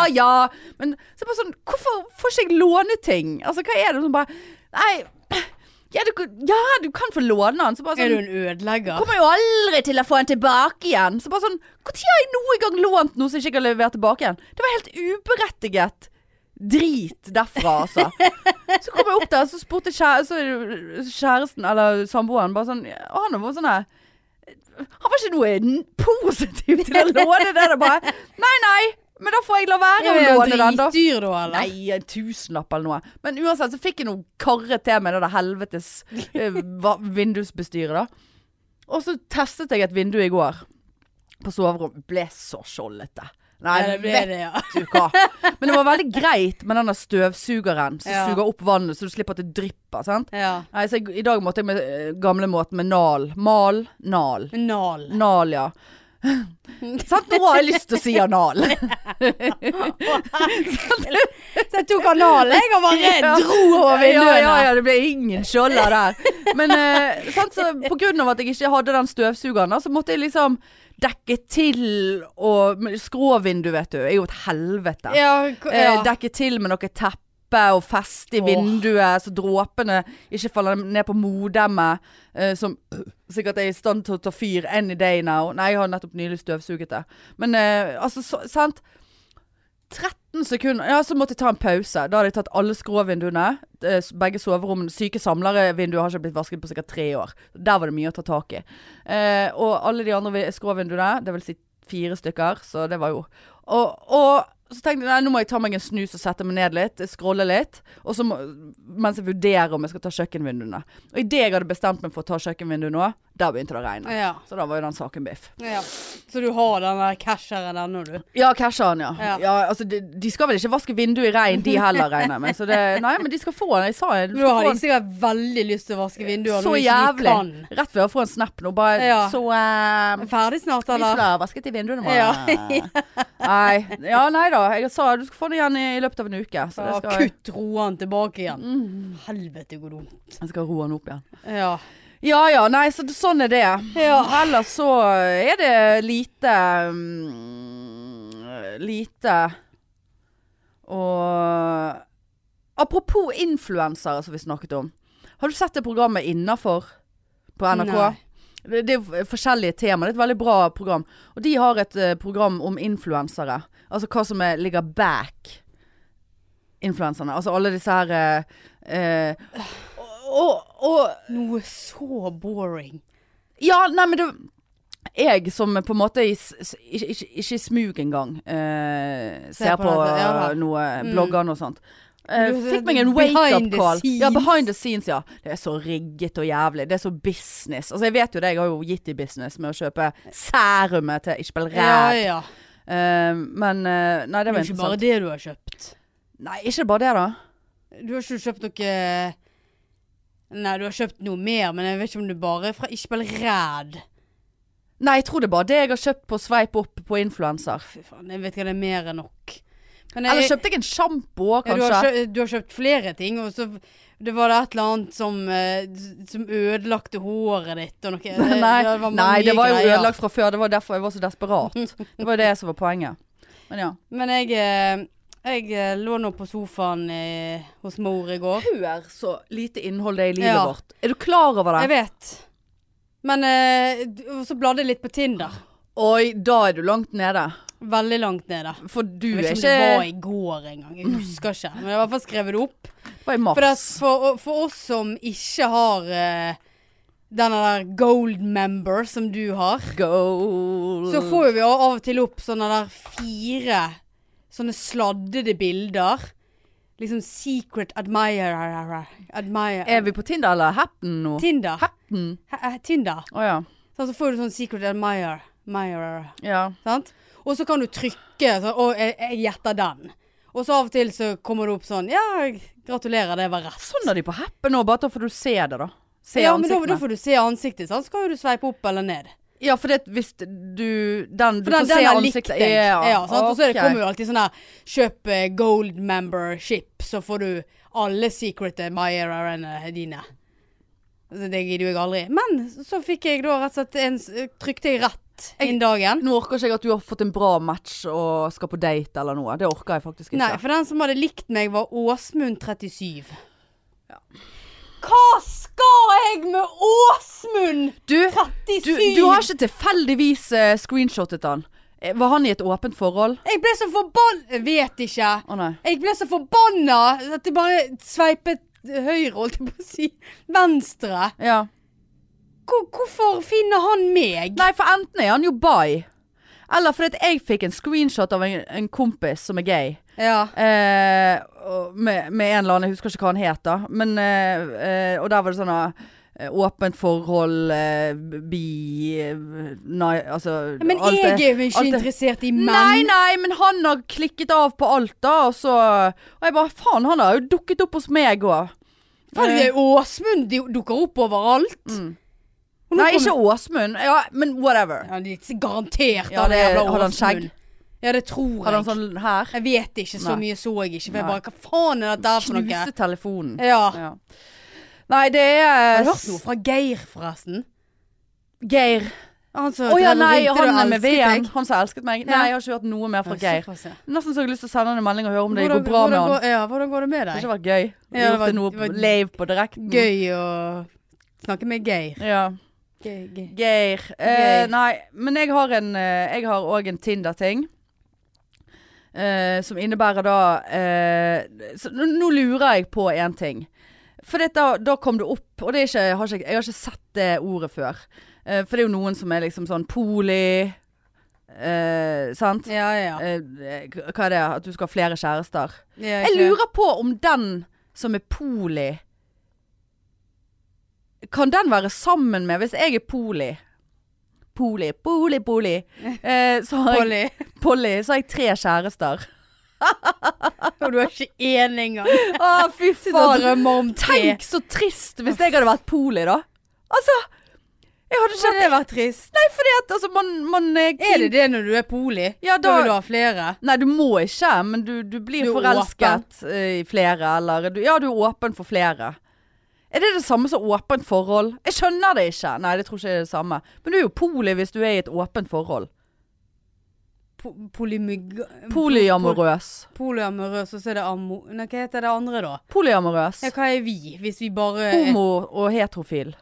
Speaker 1: ja. Men så er det bare sånn Hvorfor får ikke jeg låne ting? Altså, hva er det som bare Nei ja du, kan- ja, du kan få låne den. Så bare
Speaker 2: Er
Speaker 1: sånn
Speaker 2: du en ødelegger?
Speaker 1: Kommer jo aldri til å få den tilbake igjen. Så bare sånn Når har jeg noen gang lånt noe som jeg ikke har levert tilbake igjen? Det var helt uberettiget drit derfra, altså. Så kom jeg opp der, så spurte kjære, så kjæresten eller samboeren bare sånn Og han var sånn her han var ikke noe n- positiv til å låne det der. Bare Nei, nei, Men da får jeg la være å
Speaker 2: Er han
Speaker 1: låne den, da.
Speaker 2: dritdyr da, eller?
Speaker 1: Nei, en tusenlapp eller noe. Men uansett så fikk jeg noe karre til med det der helvetes eh, va- vindusbestyret, da. Og så testet jeg et vindu i går på soverommet. Ble så skjoldete. Nei,
Speaker 2: Ja, det ble
Speaker 1: vet
Speaker 2: det, ja.
Speaker 1: du hva. Men det var veldig greit med den der støvsugeren som
Speaker 2: Ja.
Speaker 1: suger opp vannet, så du slipper at det drypper. sant?
Speaker 2: ja.
Speaker 1: Nei, så jeg, I dag måtte jeg med eh, gamle måten med nal. Mal, nal.
Speaker 2: Men Nal.
Speaker 1: Anal, ja. Sant, nå har jeg lyst til å si anal.
Speaker 2: Så jeg tok anal, jeg, og bare
Speaker 1: Ja.
Speaker 2: dro
Speaker 1: Ja,
Speaker 2: over vinduene.
Speaker 1: ja, ja, det ble ingen skjolder der. Men eh, sant, så på grunn av at jeg ikke hadde den støvsugeren, da, så måtte jeg liksom dekke til og men Skråvindu, vet du, er jo et helvete.
Speaker 2: Ja, ko-
Speaker 1: Eh,
Speaker 2: ja.
Speaker 1: dekke til med noe teppe og feste i
Speaker 2: Åh.
Speaker 1: vinduet, så dråpene ikke faller ned på modemmet, eh, som sikkert er i stand til å ta fyr any day now. Nei, jeg har nettopp nylig støvsuget det. Men eh, altså, så, sant? 13 sekunder, ja, så måtte jeg ta en pause. Da hadde jeg tatt alle skråvinduene, eh, s- begge soverommene, syke samlerevinduer har ikke blitt vasket på sikkert tre år. Der var det mye å ta tak i. Eh, og alle de andre vi- skråvinduene, det vil si fire stykker, så det var jo Og, og så tenkte jeg nei, nå må jeg ta meg en snus og sette meg ned litt, scrolle litt, og så må, mens jeg vurderer om jeg skal ta kjøkkenvinduene. Og idet jeg hadde bestemt meg for å ta kjøkkenvinduet nå, der begynte det å regne.
Speaker 2: ja.
Speaker 1: Så da var jo den saken biff.
Speaker 2: ja. Så du har den der casheren ennå, du?
Speaker 1: Ja, casha han, ja.
Speaker 2: Ja.
Speaker 1: ja. altså, de, de skal vel ikke vaske vinduet i regn, de heller, regner jeg med. Så det, nei, men de skal få den. Jeg sa jeg
Speaker 2: Nå har
Speaker 1: skal få
Speaker 2: de sikkert veldig lyst til å vaske vinduer.
Speaker 1: så
Speaker 2: når ikke de
Speaker 1: jævlig.
Speaker 2: kan.
Speaker 1: Rett ved å få en snap nå, bare
Speaker 2: Ja.
Speaker 1: så eh,
Speaker 2: Ferdig snart,
Speaker 1: Vi
Speaker 2: eller?
Speaker 1: skulle ha vasket i vinduene våre.
Speaker 2: Ja.
Speaker 1: nei. Ja, nei da. Jeg sa du skal få det igjen i, i løpet av en uke. Så det
Speaker 2: Ja,
Speaker 1: skal jeg.
Speaker 2: kutt roen tilbake igjen. Helvete, hvor dumt.
Speaker 1: Jeg skal roe den opp igjen.
Speaker 2: Ja.
Speaker 1: Ja ja, nei, så, sånn er det.
Speaker 2: Ja.
Speaker 1: Ellers så er det lite mm, Lite Og Apropos influensere som vi snakket om. Har du sett det programmet Innafor på NRK?
Speaker 2: Nei.
Speaker 1: Det, det er jo forskjellige temaer. Det er et veldig bra program. Og de har et eh, program om influensere. Altså hva som er, ligger back influenserne. Altså alle disse her eh, eh, og, og, og
Speaker 2: Noe så boring.
Speaker 1: ja, nei, men det Jeg som på en måte i s- s- ikke, ikke, ikke i smug engang eh, ser
Speaker 2: på
Speaker 1: på, eh,
Speaker 2: dette, ja da.
Speaker 1: noe
Speaker 2: Mm.
Speaker 1: blogger og sånt. Eh,
Speaker 2: Du-
Speaker 1: fikk meg en
Speaker 2: behind the
Speaker 1: wake-up-call. Ja,
Speaker 2: scenes.
Speaker 1: behind the scenes, ja. Det er så rigget og jævlig. Det er så business. Altså, jeg vet jo det, jeg har jo gitt i business med å kjøpe særumet til Ishbel
Speaker 2: Ja,
Speaker 1: Ræd.
Speaker 2: ja.
Speaker 1: Eh, men eh, Nei,
Speaker 2: Det
Speaker 1: det
Speaker 2: er
Speaker 1: var
Speaker 2: jo ikke bare
Speaker 1: interessant.
Speaker 2: det du har kjøpt.
Speaker 1: Nei, ikke bare det, da.
Speaker 2: Du har ikke kjøpt noe Nei, du har kjøpt noe mer, men jeg vet ikke om det bare er fra Ishbel Ræd.
Speaker 1: Nei, jeg tror det er bare det jeg har kjøpt på Sveip opp på influenser.
Speaker 2: Fy faen, jeg vet ikke om det er mer enn nok. Men
Speaker 1: Eller kjøpte jeg en sjampo òg,
Speaker 2: Ja,
Speaker 1: kanskje?
Speaker 2: du, har kjøpt, du har kjøpt flere ting, og så det var det et eller annet som, eh, som ødelagte håret ditt og noe. Det,
Speaker 1: Nei,
Speaker 2: det var
Speaker 1: nei,
Speaker 2: mye
Speaker 1: det var jo
Speaker 2: greier.
Speaker 1: ødelagt fra før. Det var derfor jeg var så desperat. Det var jo det som var poenget. Men ja.
Speaker 2: Men jeg, eh, jeg eh, lå nå på sofaen eh, hos mor i går.
Speaker 1: Hør så lite innhold det er i
Speaker 2: livet
Speaker 1: vårt. Er du klar over
Speaker 2: Jeg vet. Men eh, d- og så bladde jeg litt på Tinder.
Speaker 1: Oi, da er du langt nede.
Speaker 2: Veldig langt ned, da.
Speaker 1: For du
Speaker 2: Jeg
Speaker 1: er
Speaker 2: vet ikke om det var
Speaker 1: ikke
Speaker 2: i går engang. Jeg husker ikke. Men jeg har i hvert fall skrevet det opp.
Speaker 1: Var i mars.
Speaker 2: For, det, er- for, for oss som ikke har eh, denne der gold member som du har
Speaker 1: Goal.
Speaker 2: Så får jo vi av og til opp sånne der fire sånne sladdede bilder. Liksom secret admirer Admirer
Speaker 1: Er vi på Tinder eller Happen nå?
Speaker 2: Tinder.
Speaker 1: Happen?
Speaker 2: Hæ- eh, Tinder.
Speaker 1: Å ja.
Speaker 2: Sånn, så får du sånn secret admirer. admirer
Speaker 1: ja.
Speaker 2: sant? Og så kan du trykke sånn Å, jeg, jeg gjetter den. Og så av og til så kommer det opp sånn Ja, gratulerer, det var rett.
Speaker 1: Sånn er de på Happen nå, bare da får du se det, da. Se
Speaker 2: ja, men da,
Speaker 1: ansiktene.
Speaker 2: da får du se ansiktet, sant? Så kan jo du sveipe opp eller ned.
Speaker 1: Ja, for det, hvis du Den, du
Speaker 2: For
Speaker 1: får
Speaker 2: den,
Speaker 1: se
Speaker 2: den har likt
Speaker 1: ansiktet.
Speaker 2: deg. Ja, sant? Og så er det-
Speaker 1: ok.
Speaker 2: kommer jo alltid sånn der Kjøp eh, gold membership, så får du alle secret eh, admirerne dine. Så det gidder jo jeg aldri. Men så fikk jeg da rett og slett en s- Trykte jeg rett inn dagen.
Speaker 1: Nå orker ikke jeg at du har fått en bra match og skal på date eller noe. Det orker jeg faktisk ikke.
Speaker 2: Nei, for den som hadde likt meg, var Åsmund37. Hva skal jeg med Åsmund
Speaker 1: du,
Speaker 2: 37?
Speaker 1: du, du har ikke tilfeldigvis eh, screenshotet han. Eh, Var han i et åpent forhold?
Speaker 2: Jeg ble så forbanna Vet ikke.
Speaker 1: Å nei.
Speaker 2: Jeg ble så forbanna at jeg bare sveipet høyre, holdt jeg på å si. Venstre.
Speaker 1: Ja.
Speaker 2: Hvor, hvorfor finner han meg?
Speaker 1: Nei, for enten er han jo bi, Eller fordi at jeg fikk en screenshot av en, en kompis som er gay.
Speaker 2: Ja.
Speaker 1: Eh, og med, med en eller annen, jeg husker ikke hva han het da. Men, eh, eh, og der var det sånn eh, åpent forhold, eh, bi eh, nei, Altså
Speaker 2: Men
Speaker 1: alt
Speaker 2: jeg
Speaker 1: det-
Speaker 2: er jo ikke
Speaker 1: alt det-
Speaker 2: interessert i
Speaker 1: Nei,
Speaker 2: menn.
Speaker 1: nei, men han har klikket av på alt, da. Og så Og jeg bare Faen, han har jo dukket opp hos meg òg.
Speaker 2: Farge Åsmund de dukker opp overalt.
Speaker 1: Mm.
Speaker 2: Og nå
Speaker 1: Nei,
Speaker 2: kommer-
Speaker 1: ikke Åsmund. Ja, men whatever.
Speaker 2: Ja, de garantert
Speaker 1: Ja,
Speaker 2: han
Speaker 1: det-
Speaker 2: jævla
Speaker 1: hadde han
Speaker 2: Åsmund.
Speaker 1: skjegg?
Speaker 2: Ja, det tror
Speaker 1: Hadde han
Speaker 2: jeg.
Speaker 1: sånn her?
Speaker 2: Jeg vet ikke, så
Speaker 1: Nei.
Speaker 2: mye så jeg ikke. For jeg
Speaker 1: Nei.
Speaker 2: bare Hva faen er dette her for noe?
Speaker 1: Knuste telefonen.
Speaker 2: Ja.
Speaker 1: Ja. Eh, Nei, det er
Speaker 2: Har du hørt noe fra Geir, forresten?
Speaker 1: Geir.
Speaker 2: Han som
Speaker 1: Å ja,
Speaker 2: drev og
Speaker 1: nei,
Speaker 2: ringte
Speaker 1: han
Speaker 2: og
Speaker 1: er med
Speaker 2: elsket
Speaker 1: VM.
Speaker 2: deg.
Speaker 1: Han som elsket meg.
Speaker 2: Ja.
Speaker 1: Nei, jeg har ikke hørt noe mer fra
Speaker 2: Ja,
Speaker 1: Geir.
Speaker 2: såpass, ja.
Speaker 1: Nesten så jeg har lyst til å sende han en melding og høre om det
Speaker 2: Hvordan-
Speaker 1: går bra med
Speaker 2: hvordan
Speaker 1: han.
Speaker 2: går- Ja, hvordan går det med
Speaker 1: Det har
Speaker 2: deg?
Speaker 1: ikke Mm. vært gøy. Vi
Speaker 2: Ja, det
Speaker 1: har
Speaker 2: var-
Speaker 1: gjort det noe
Speaker 2: det var-
Speaker 1: live på direkten.
Speaker 2: Gøy å snakke med Geir.
Speaker 1: Ja.
Speaker 2: Geir, Geir.
Speaker 1: Geir. Eh,
Speaker 2: Geir.
Speaker 1: nei, men jeg har en eh, Jeg har òg en Tinder-ting. Eh, som innebærer da eh, så, nå, nå lurer jeg på én ting. For det, da, da kom det opp, og det er ikke, jeg, har ikke, jeg har ikke sett det ordet før. Eh, for det er jo noen som er liksom sånn poli eh, Sant?
Speaker 2: Ja, ja.
Speaker 1: Eh, k- hva er det? At du skal ha flere kjærester?
Speaker 2: ja
Speaker 1: Jeg
Speaker 2: ikke-
Speaker 1: lurer på om den som er poli Kan den være sammen med Hvis jeg er poli Poli, poli, poli eh, Så har jeg,
Speaker 2: Polly.
Speaker 1: poli, så har jeg tre kjærester
Speaker 2: Og du er ikke én engang.
Speaker 1: Å fy
Speaker 2: Sitter
Speaker 1: faen
Speaker 2: og drømmer om tre.
Speaker 1: Tenk så trist hvis jeg hadde vært poli da Altså Jeg hadde
Speaker 2: Hadde
Speaker 1: ikke
Speaker 2: det vært trist?
Speaker 1: Nei, fordi at altså, man, man
Speaker 2: Er det det når du er poli?
Speaker 1: Ja,
Speaker 2: Da
Speaker 1: da-
Speaker 2: vil du ha flere?
Speaker 1: Nei, du må ikke, men du, du blir
Speaker 2: Du er
Speaker 1: forelsket eh, i flere, eller du, Ja, du er åpen for flere. Er det det samme som åpent forhold? Jeg skjønner det ikke. Nei, det tror ikke jeg er det samme. Men du er jo poli hvis du er i et åpent forhold.
Speaker 2: Po- Polymyg...
Speaker 1: Polyamorøs.
Speaker 2: Polyamorøs, og så er det ammo... Nei, hva heter det andre da?
Speaker 1: Polyamorøs.
Speaker 2: Ja, hva er vi, hvis vi bare
Speaker 1: Homo og heterofil.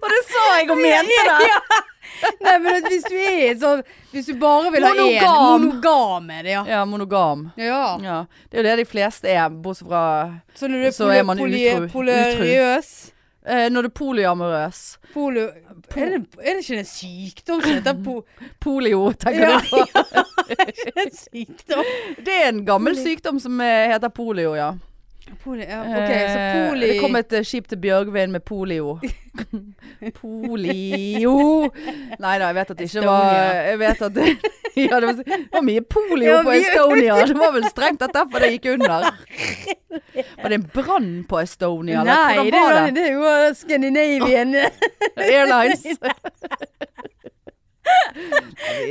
Speaker 1: og det sa jeg og mente det!
Speaker 2: Nei, men at hvis du er sånn Hvis du bare vil ha én
Speaker 1: Monogam.
Speaker 2: Monogam er det, ja.
Speaker 1: Ja, monogam.
Speaker 2: ja.
Speaker 1: Ja. Det er jo det de fleste er, bortsett fra
Speaker 2: Så når du er,
Speaker 1: Så
Speaker 2: poly,
Speaker 1: er man
Speaker 2: poly,
Speaker 1: utro-
Speaker 2: polariøs
Speaker 1: eh, Når du er polyamorøs.
Speaker 2: Polio... Er, det, er det ikke en sykdom som heter po...
Speaker 1: Polio, tenker
Speaker 2: Ja,
Speaker 1: du på.
Speaker 2: en sykdom?
Speaker 1: Det er en gammel sykdom som eh, heter polio, ja.
Speaker 2: Poli, ja, ok, så
Speaker 1: Eh,
Speaker 2: poli...
Speaker 1: Det kom et eh, skip til Bjørgvin med polio. polio Nei da, jeg vet at det ikke var
Speaker 2: Estonia.
Speaker 1: Jeg vet at det, ja, det, var, det var mye polio
Speaker 2: Ja,
Speaker 1: på
Speaker 2: mye-
Speaker 1: Estonia. Det var vel strengt tatt derfor det gikk under. Var det en brann på Estonia? eller
Speaker 2: Nei,
Speaker 1: hvordan
Speaker 2: det,
Speaker 1: var
Speaker 2: var, det er jo eh, Scandinavian.
Speaker 1: Airlines.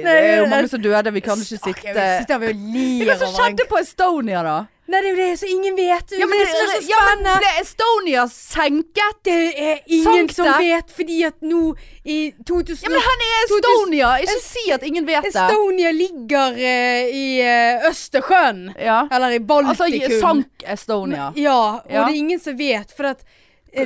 Speaker 1: det er jo mange som døde. Vi kan ikke
Speaker 2: Stakkars,
Speaker 1: sitte
Speaker 2: vi sitter vi og
Speaker 1: Hva som
Speaker 2: lir over en
Speaker 1: skjedde på Estonia, da?
Speaker 2: Nei, det er jo det som ingen vet.
Speaker 1: Ja, men
Speaker 2: det, som er så spennende.
Speaker 1: ble Estonia senket?
Speaker 2: det, er ingen
Speaker 1: Sant
Speaker 2: som
Speaker 1: det?
Speaker 2: vet, fordi at nå i 2000
Speaker 1: Ja, men han er Estonia! Ikke si at ingen vet det.
Speaker 2: Estonia ligger eh, i eh, Østersjøen.
Speaker 1: Ja.
Speaker 2: Eller i
Speaker 1: Altså,
Speaker 2: Baltikum.
Speaker 1: sank Estonia.
Speaker 2: Ja, og
Speaker 1: Ja.
Speaker 2: det er ingen som vet, for at eh,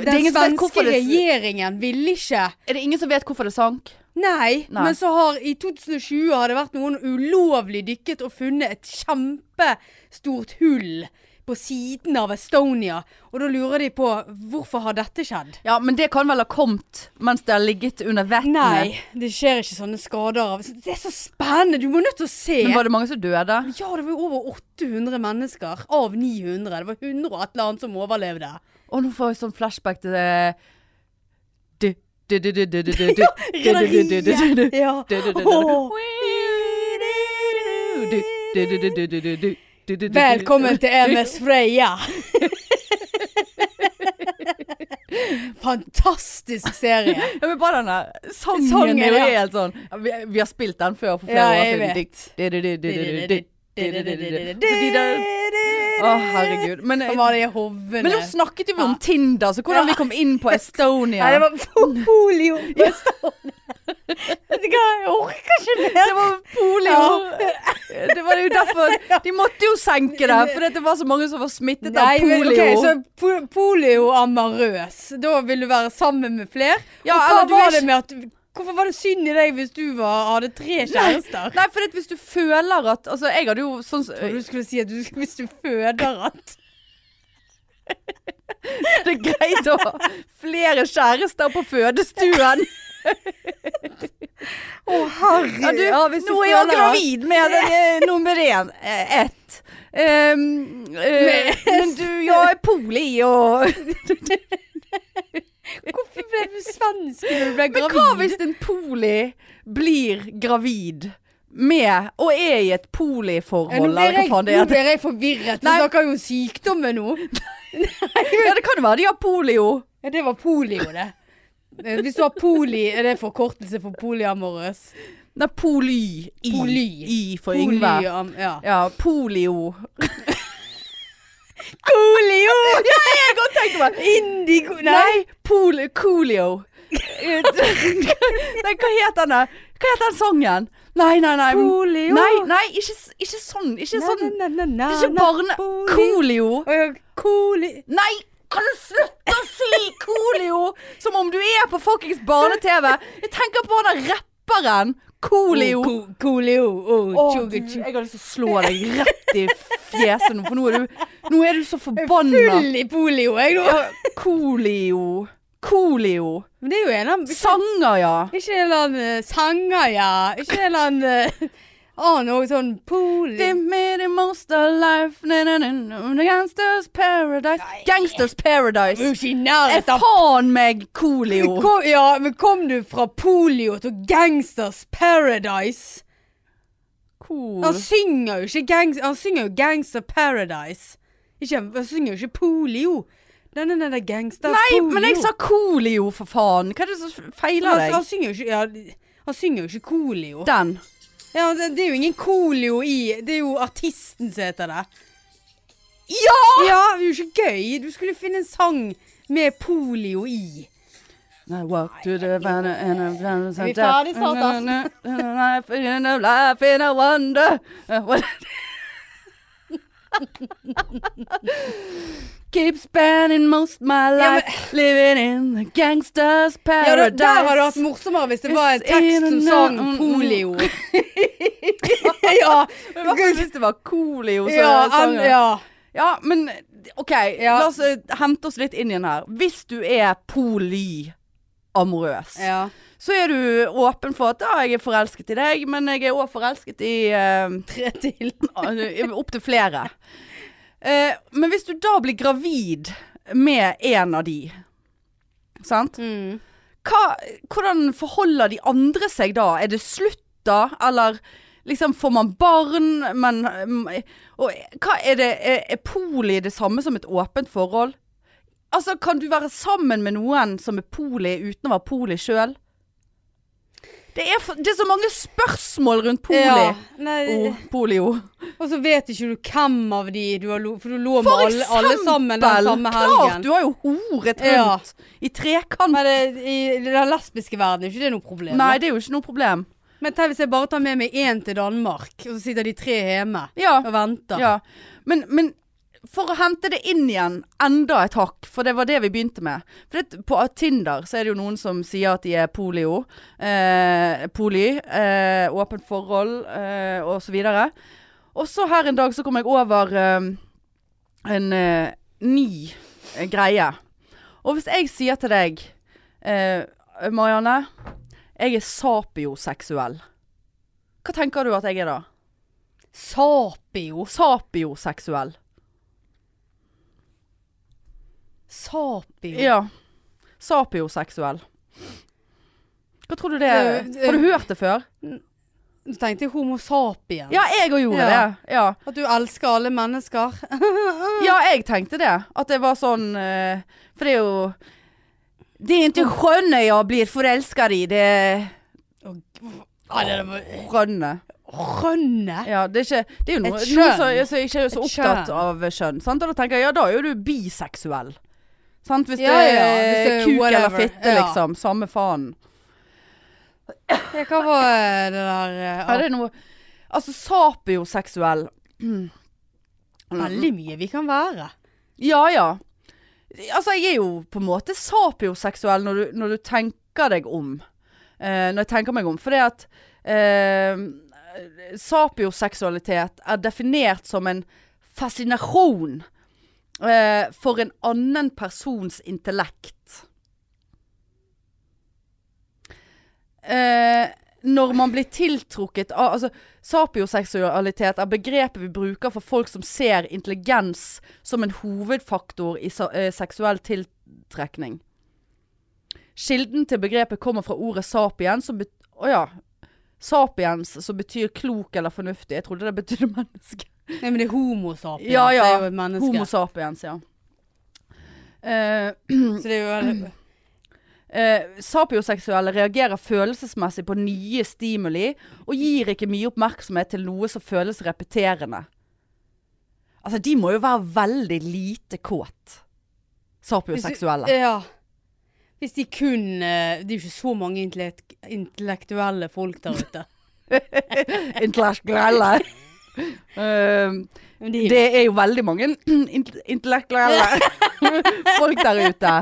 Speaker 1: Det er
Speaker 2: den
Speaker 1: ingen som vet
Speaker 2: svenske
Speaker 1: hvorfor det-
Speaker 2: regjeringen ville ikke.
Speaker 1: Er det ingen som vet hvorfor det sank?
Speaker 2: Nei,
Speaker 1: Nei.
Speaker 2: men så har i 2020 har det vært noen ulovlig dykket og funnet et kjempestort hull på siden av Estonia. Og da lurer de på hvorfor har dette skjedd?
Speaker 1: Ja, men det kan vel ha kommet mens det har ligget under vettet?
Speaker 2: Nei, det skjer ikke sånne skader av Det er så spennende! Du må nødt til å se!
Speaker 1: Men var det mange som døde?
Speaker 2: Ja, det var jo over 800 mennesker av 900. Det var 100 og et eller annet som overlevde.
Speaker 1: Å, nå får jeg sånn flashback til det Du, du, du, du, du, du, du, du, du, du, du, du, du, du.
Speaker 2: Ja.
Speaker 1: Du, du, du, du, du.
Speaker 2: Åh.
Speaker 1: Du, du, du, du, du, du, du, du, du, du, du.
Speaker 2: Velkommen til MS Freya. Fantastisk serie.
Speaker 1: Ja, men bare den der sangen,
Speaker 2: Sangen,
Speaker 1: er jo
Speaker 2: ja.
Speaker 1: helt sånn ja, vi, vi har spilt den før for flere
Speaker 2: Ja,
Speaker 1: år
Speaker 2: jeg
Speaker 1: siden.
Speaker 2: vet.
Speaker 1: Dikt, di- di- di- di- di- di- di- di- di- di- di- di- di- Å,
Speaker 2: Å,
Speaker 1: herregud. Men,
Speaker 2: Han var det i hovene.
Speaker 1: men nå snakket vi om Tinder, så
Speaker 2: Ja.
Speaker 1: hvordan vi kom inn på Estonia.
Speaker 2: Nei, det var po- polio. på Østlandet. Vet du hva, jeg orker ikke mer.
Speaker 1: Det var polio. Det var jo derfor De måtte jo senke det, fordi det var så mange som var smittet av
Speaker 2: men,
Speaker 1: polio.
Speaker 2: ok, så po- polio amarøs. Da vil du være sammen med flere.
Speaker 1: Ja,
Speaker 2: Og hva
Speaker 1: eller du er
Speaker 2: var det
Speaker 1: ikke-
Speaker 2: med at Hvorfor var det synd i deg hvis du var, hadde tre kjærester?
Speaker 1: Nei, for hvis du føler at Altså, jeg hadde jo sånn
Speaker 2: Og Du skulle si at du, hvis du føder at
Speaker 1: Det er greit å ha flere kjærester på fødestuen.
Speaker 3: Å, herregud.
Speaker 1: Ja, du,
Speaker 3: nå er jeg gravid med den, eh, nummer én. Eh, ett. Ehm, eh, men du, jag är poli och...
Speaker 2: Hvorfor ble du svensk når du ble
Speaker 1: Men hva hvis en poli blir gravid med Og er i et
Speaker 2: Ja, nå
Speaker 1: poliforhold,
Speaker 2: blir
Speaker 1: eller hva
Speaker 2: jeg,
Speaker 1: faen det
Speaker 2: nå
Speaker 1: heter?
Speaker 2: blir jeg forvirret. Vi
Speaker 1: Nei.
Speaker 2: snakker jo sykdommer nå.
Speaker 1: Ja, det kan jo være de har polio.
Speaker 2: Ja, det var polio, det. Eh, Hvis du har poli, er det forkortelse for polyamorøs?
Speaker 1: Nei, poly. I,
Speaker 2: Poly.
Speaker 1: I for Yngve.
Speaker 2: Polyam- Ja.
Speaker 1: Ja, polio.
Speaker 2: Polio!
Speaker 1: Tenk meg.
Speaker 2: Indigo... Nei.
Speaker 1: Nei, pol, coolio. Eh, nei, hva het den der? Hva het den sangen? Nei, nei, nei.
Speaker 2: Polio.
Speaker 1: Nei, nei, ikke, s- ikke sånn. Ikke sånn.
Speaker 2: Na, na, na, na,
Speaker 1: Det er ikke
Speaker 2: na,
Speaker 1: barne...
Speaker 2: polio.
Speaker 1: Coolio.
Speaker 2: Å, ja, Coli...
Speaker 1: Nei, kan du slutte å si Coolio? Som om du er på fuckings barne-TV. Jeg tenker på han der rapperen Coolio.
Speaker 2: Oh, co- Colio. Oh,
Speaker 1: Å,
Speaker 2: tjuga,
Speaker 1: du,
Speaker 2: tjuga.
Speaker 1: jeg har lyst til å slå deg rett i fjeset nå, for nå er du, nå er du så forbanna.
Speaker 2: Full i polio, jeg nå.
Speaker 1: Coolio. Coolio.
Speaker 2: Men det er jo en av
Speaker 1: Sanger, ja.
Speaker 2: Ikke en eller annen eh, sanger, ja. Ikke en eller annen eh, annen noe sånn polio.
Speaker 1: Give me the most alive na, na, na, na, Gangsters Paradise. Gangsters
Speaker 2: Det er jo
Speaker 1: Paradise.
Speaker 2: ikke i
Speaker 1: Er
Speaker 2: nærheten av
Speaker 1: faen meg
Speaker 2: Men
Speaker 1: Coolio.
Speaker 2: Kom, ja, men kom du fra polio til Gangsters Paradise? Han
Speaker 1: Cool.
Speaker 2: synger jo ikke gangs, Han synger jo Gangster Paradise. Ikke, han synger jo ikke polio. Den er den der gangster
Speaker 1: Nei,
Speaker 2: polio.
Speaker 1: men jeg sa Coolio, for faen. Hva er det som feiler
Speaker 2: han,
Speaker 1: deg?
Speaker 2: han synger jo ikke ja, Han synger jo ikke kolio.
Speaker 1: Den.
Speaker 2: Ja, det, det er jo ingen kolio i Det er jo artisten som heter det.
Speaker 1: Ja!
Speaker 2: Ja, det er jo ikke gøy. Du skulle finne en sang med polio i.
Speaker 1: I walk to the banner and I'm down
Speaker 2: Er vi ferdig snart, ass?
Speaker 1: Life in a life in a wonder Uh, What- Keep spending most my
Speaker 2: men-
Speaker 1: life Living in the gangsters
Speaker 2: Ja, da,
Speaker 1: paradise
Speaker 2: der hadde det vært morsommere hvis det var en
Speaker 1: It's
Speaker 2: tekst som
Speaker 1: in a-
Speaker 2: sang
Speaker 1: mm, mm.
Speaker 2: polio. ja.
Speaker 1: Men hva Hvis det var Coolio som
Speaker 2: Ja,
Speaker 1: sang
Speaker 2: an-
Speaker 1: det?
Speaker 2: ja.
Speaker 1: Ja, men OK,
Speaker 2: Ja.
Speaker 1: la oss eh, hente oss litt inn igjen her. Hvis du er polyamorøs,
Speaker 2: ja.
Speaker 1: så er du åpen for at ja, jeg er forelsket i deg, men jeg er òg forelsket i eh,
Speaker 2: Tre til.
Speaker 1: opptil flere. Eh, men hvis du da blir gravid med en av de, sant?
Speaker 2: Mm.
Speaker 1: Hva, hvordan forholder de andre seg da? Er det slutt da, eller liksom får man barn, men mm, og, hva, er, det, er, er poli det samme som et åpent forhold? Altså, kan du være sammen med noen som er poli uten å være poli sjøl? Det er, for- det er så mange spørsmål rundt poli.
Speaker 2: Ja. Nei,
Speaker 1: Oh, polio.
Speaker 2: Og så vet ikke du hvem av de du har lo... For du lå med
Speaker 1: For
Speaker 2: alle, alle sammen den samme
Speaker 1: Klart,
Speaker 2: helgen.
Speaker 1: du har jo horet
Speaker 2: Ja.
Speaker 1: rundt i trekant.
Speaker 2: Men det, i den lesbiske verden er ikke det noe problem.
Speaker 1: Nei,
Speaker 2: da.
Speaker 1: det er jo ikke noe problem.
Speaker 2: Men tenk hvis jeg bare tar med meg én til Danmark, og så sitter de tre hjemme
Speaker 1: Ja.
Speaker 2: og venter.
Speaker 1: Ja, men, men for å hente det inn igjen, enda et hakk, for det var det vi begynte med. For det, på Tinder så er det jo noen som sier at de er polio, eh, poli, eh, åpent forhold eh, og så videre. Og så her en dag så kom jeg over eh, en eh, ny eh, greie. Og hvis jeg sier til deg, eh, Marianne, jeg er sapioseksuell. Hva tenker du at jeg er da?
Speaker 2: Sapio.
Speaker 1: Sapioseksuell.
Speaker 2: Sapio.
Speaker 1: Ja. Sapioseksuell. Hva tror du det er?
Speaker 2: Det- det-
Speaker 1: Har du hørt det før?
Speaker 2: Du tenkte homo sapien.
Speaker 1: Ja, jeg òg gjorde
Speaker 2: Ja.
Speaker 1: det. Ja.
Speaker 2: At du elsker alle mennesker. Mm.
Speaker 1: ja, jeg tenkte det. At det var sånn eh, For det er jo Det er ikke skjønne jeg blir forelska i, det er
Speaker 2: Ja, det var
Speaker 1: skjønne.
Speaker 2: Rønne.
Speaker 1: Ja, det, er ikke, det er jo noe, noen
Speaker 2: Et skjønn.
Speaker 1: som som ikke er så
Speaker 2: Et
Speaker 1: opptatt
Speaker 2: skjønn.
Speaker 1: av kjønn. Sant? Og da tenker jeg ja, da er jo du biseksuell. Sant? Hvis,
Speaker 2: Ja,
Speaker 1: det
Speaker 2: ja,
Speaker 1: er
Speaker 2: hvis det er
Speaker 1: kuk eller
Speaker 2: whatever.
Speaker 1: fitte,
Speaker 2: Ja.
Speaker 1: liksom. Samme faen.
Speaker 2: Ja, hva var eh, det der eh,
Speaker 1: Ja, det er noe Altså, sapioseksuell
Speaker 2: Veldig mye vi kan være.
Speaker 1: Ja, ja. Altså, jeg er jo på en måte sapioseksuell når du, når du tenker deg om. Eh, når jeg tenker meg om. For det at eh, sapioseksualitet er definert som en fascinasjon eh, for en annen persons intellekt. Eh, når man blir tiltrukket av altså, Sapioseksualitet er begrepet vi bruker for folk som ser intelligens som en hovedfaktor i sa- eh, seksuell tiltrekning. Kilden til begrepet kommer fra ordet sapien, som bet å ja. Sapiens, som betyr klok eller fornuftig. Jeg trodde det betydde menneske.
Speaker 2: Nei, men det er homo sapiens.
Speaker 1: Ja, ja.
Speaker 2: Det er jo et menneske.
Speaker 1: Homo sapiens, ja. Eh,
Speaker 2: Så det er
Speaker 1: Mm.
Speaker 2: jo
Speaker 1: Eh, sapioseksuelle reagerer følelsesmessig på nye stimuli og gir ikke mye oppmerksomhet til noe som føles repeterende. Altså, de må jo være veldig lite kåt. Sapioseksuelle.
Speaker 2: Ja. Hvis de kun eh, Det er jo ikke så mange intellekt, intellektuelle folk der ute.
Speaker 1: Intellektuelle. Eh,
Speaker 2: Men de,
Speaker 1: det er jo veldig mange int- intellektuelle folk der ute.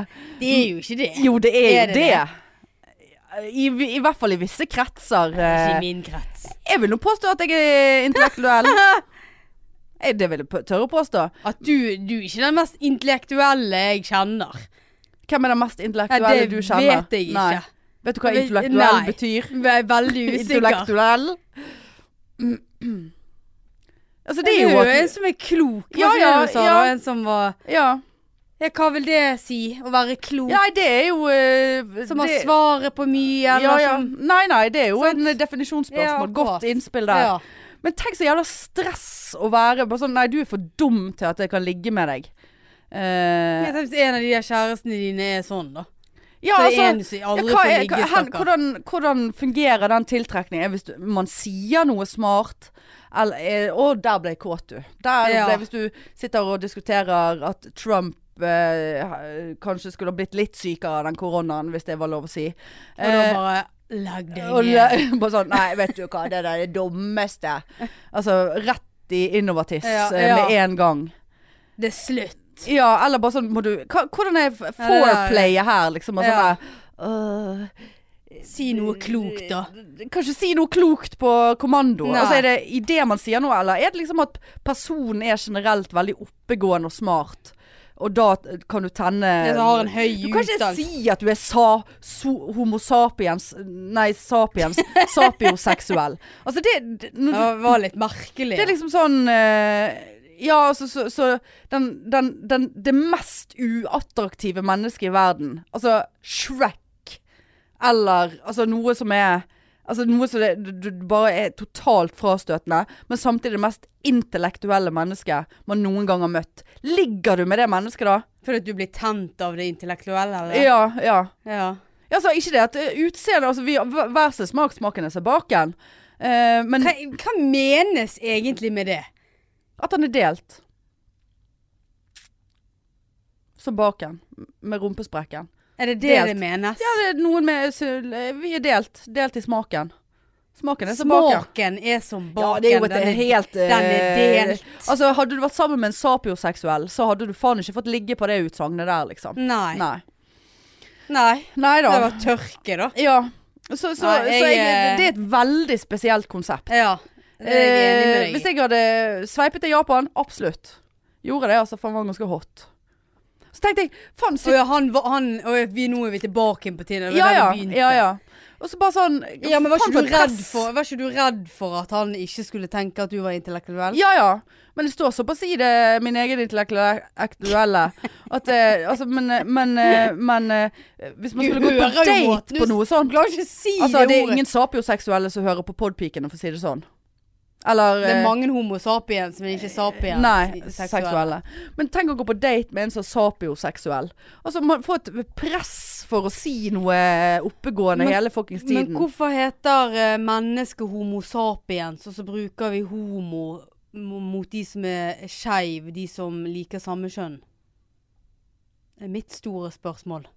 Speaker 2: de er jo ikke det.
Speaker 1: Jo, det er
Speaker 2: Er
Speaker 1: jo
Speaker 2: det
Speaker 1: det. I, I hvert fall i visse kretser.
Speaker 2: Ikke
Speaker 1: eh,
Speaker 2: i min krets.
Speaker 1: Jeg vil nå påstå at jeg er intellektuell. Jeg, det vil jeg på- tørre å påstå.
Speaker 2: At du, du er ikke den mest intellektuelle jeg kjenner.
Speaker 1: Hvem er den mest intellektuelle
Speaker 2: Nei, det
Speaker 1: du kjenner?
Speaker 2: vet jeg ikke.
Speaker 1: Nei. Vet du hva
Speaker 2: Vet-
Speaker 1: intellektuell
Speaker 2: nei.
Speaker 1: betyr?
Speaker 2: Jeg er veldig usikker.
Speaker 1: Intellektuell. Altså, det
Speaker 2: Det
Speaker 1: er jo at
Speaker 2: en som er klok.
Speaker 1: Ja,
Speaker 2: Hva
Speaker 1: ja,
Speaker 2: du sa,
Speaker 1: ja.
Speaker 2: da? En som var
Speaker 1: Ja,
Speaker 2: Ja, hva vil det si? Å være klok?
Speaker 1: ja det er jo eh,
Speaker 2: som har
Speaker 1: det-
Speaker 2: svaret på mye, eller
Speaker 1: ja, ja.
Speaker 2: som
Speaker 1: Nei, nei, det er jo en definisjonsspørsmål.
Speaker 2: Ja,
Speaker 1: Godt
Speaker 2: akkurat.
Speaker 1: innspill der.
Speaker 2: Ja.
Speaker 1: Men tenk så jævla stress å være bare sånn Nei, du er for dum til at jeg kan ligge med deg. Eh,
Speaker 2: Jeg tenker Hvis en av de der kjærestene dine er sånn, da.
Speaker 1: ja,
Speaker 2: Så er
Speaker 1: altså-
Speaker 2: en som aldri
Speaker 1: Ja, hva
Speaker 2: får
Speaker 1: er-
Speaker 2: ligge,
Speaker 1: hva- hen-
Speaker 2: stakkar.
Speaker 1: hvordan, hvordan fungerer den tiltrekningen hvis du, man sier noe smart? Eller, eh, å, der ble jeg kåt, du. Der
Speaker 2: Ja.
Speaker 1: ble, hvis du sitter og diskuterer at Trump eh, kanskje skulle ha blitt litt sykere av den koronaen, hvis det var lov å si.
Speaker 2: Og da
Speaker 1: Eh,
Speaker 2: bare Lag deg
Speaker 1: og
Speaker 2: ned.
Speaker 1: le- bare sånn Nei, vet du hva, det der er det dummeste. Altså rett i innovatiss
Speaker 2: Ja,
Speaker 1: eh, med
Speaker 2: ja.
Speaker 1: en gang.
Speaker 2: Det er slutt.
Speaker 1: Ja, eller bare sånn må du, hva, Hvordan er f-
Speaker 2: Ja, det er-
Speaker 1: foreplayet her, liksom? Og sånn
Speaker 2: Ja.
Speaker 1: der, øh,
Speaker 2: Si noe klokt, da.
Speaker 1: Kanskje si noe klokt på kommando.
Speaker 2: Nei.
Speaker 1: Altså Er det i det man sier noe, eller er det liksom at personen er generelt veldig oppegående og smart, og da t- kan du tenne
Speaker 2: Jeg har en høy
Speaker 1: Du kan ikke
Speaker 2: utdannelse.
Speaker 1: si at du er sa, so, homo sapiens Nei, sapiens. sapioseksuell. Altså det, det, når du,
Speaker 2: Det var litt merkelig.
Speaker 1: det er liksom sånn eh, Ja, altså så, så den, den, den, Det mest uattraktive mennesket i verden. Altså Shrek. Eller altså noe som er Altså noe som det, du, du bare er totalt frastøtende, men samtidig det mest intellektuelle mennesket man noen gang har møtt. Ligger du med det mennesket da?
Speaker 2: liksom Fordi at du blir tent av det intellektuelle, eller?
Speaker 1: Ja, ja.
Speaker 2: Ja.
Speaker 1: Ja, så ikke det at eh, utseende Altså, vi, hver sin smak, smaken er seg baken. Eh, men
Speaker 2: Hva, hva menes egentlig med det?
Speaker 1: At han er delt. Som baken. Med rumpesprekken.
Speaker 2: Er det det
Speaker 1: Delt.
Speaker 2: det menes?
Speaker 1: Ja, det er noen med så, Vi er delt. Delt i smaken. Smaken er som baken.
Speaker 2: Smaken er som baken.
Speaker 1: Ja, det er jo et
Speaker 2: den er-
Speaker 1: helt eh,
Speaker 2: den er delt.
Speaker 1: Altså, hadde du vært sammen med en sapioseksuell, så hadde du faen ikke fått ligge på det utsagnet der, liksom.
Speaker 2: Nei.
Speaker 1: Nei.
Speaker 2: Nei.
Speaker 1: Nei da.
Speaker 2: Det var tørke, da.
Speaker 1: Ja. Så, så,
Speaker 2: Nei, jeg,
Speaker 1: så jeg,
Speaker 2: eh,
Speaker 1: det er et veldig spesielt konsept.
Speaker 2: Ja. Det er jeg enig med
Speaker 1: Eh,
Speaker 2: deg i.
Speaker 1: hvis jeg hadde sveipet til Japan, absolutt. Gjorde det, altså. For han var ganske hot. Så tenkte jeg, faen,
Speaker 2: Å ja, han, var- han og vi, nå er vi tilbake på tiden. Det var
Speaker 1: Ja,
Speaker 2: der
Speaker 1: ja,
Speaker 2: vi begynte.
Speaker 1: ja, ja. Og så bare sånn
Speaker 2: Ja, men var
Speaker 1: faen
Speaker 2: ikke, du
Speaker 1: for et
Speaker 2: redd
Speaker 1: press.
Speaker 2: for, var ikke du redd for at han ikke skulle tenke at du var intellektuell?
Speaker 1: Ja, ja. Men det står såpass i det, min egen intellektuelle at eh, Altså, men eh, Men, eh, men eh, hvis man
Speaker 2: Du
Speaker 1: skulle gått på
Speaker 2: hører jo måten
Speaker 1: date
Speaker 2: du
Speaker 1: på noe sånt
Speaker 2: klarer ikke å si
Speaker 1: Altså, det er
Speaker 2: ordet.
Speaker 1: ingen sapioseksuelle som hører på podpikene, for å si det sånn. Eller
Speaker 2: Det er
Speaker 1: eh,
Speaker 2: mange homo sapiens, men ikke sapiens.
Speaker 1: Nei,
Speaker 2: seksuelle.
Speaker 1: seksuelle. Men tenk å gå på date med en som er sapioseksuell. Altså, man får et press for å si noe oppegående
Speaker 2: Men-
Speaker 1: hele fuckings
Speaker 2: Men
Speaker 1: tiden.
Speaker 2: hvorfor heter eh, mennesket homo sapiens, og så bruker vi homo mo- mot de som er skeiv, de som liker samme kjønn? Det er mitt store spørsmål.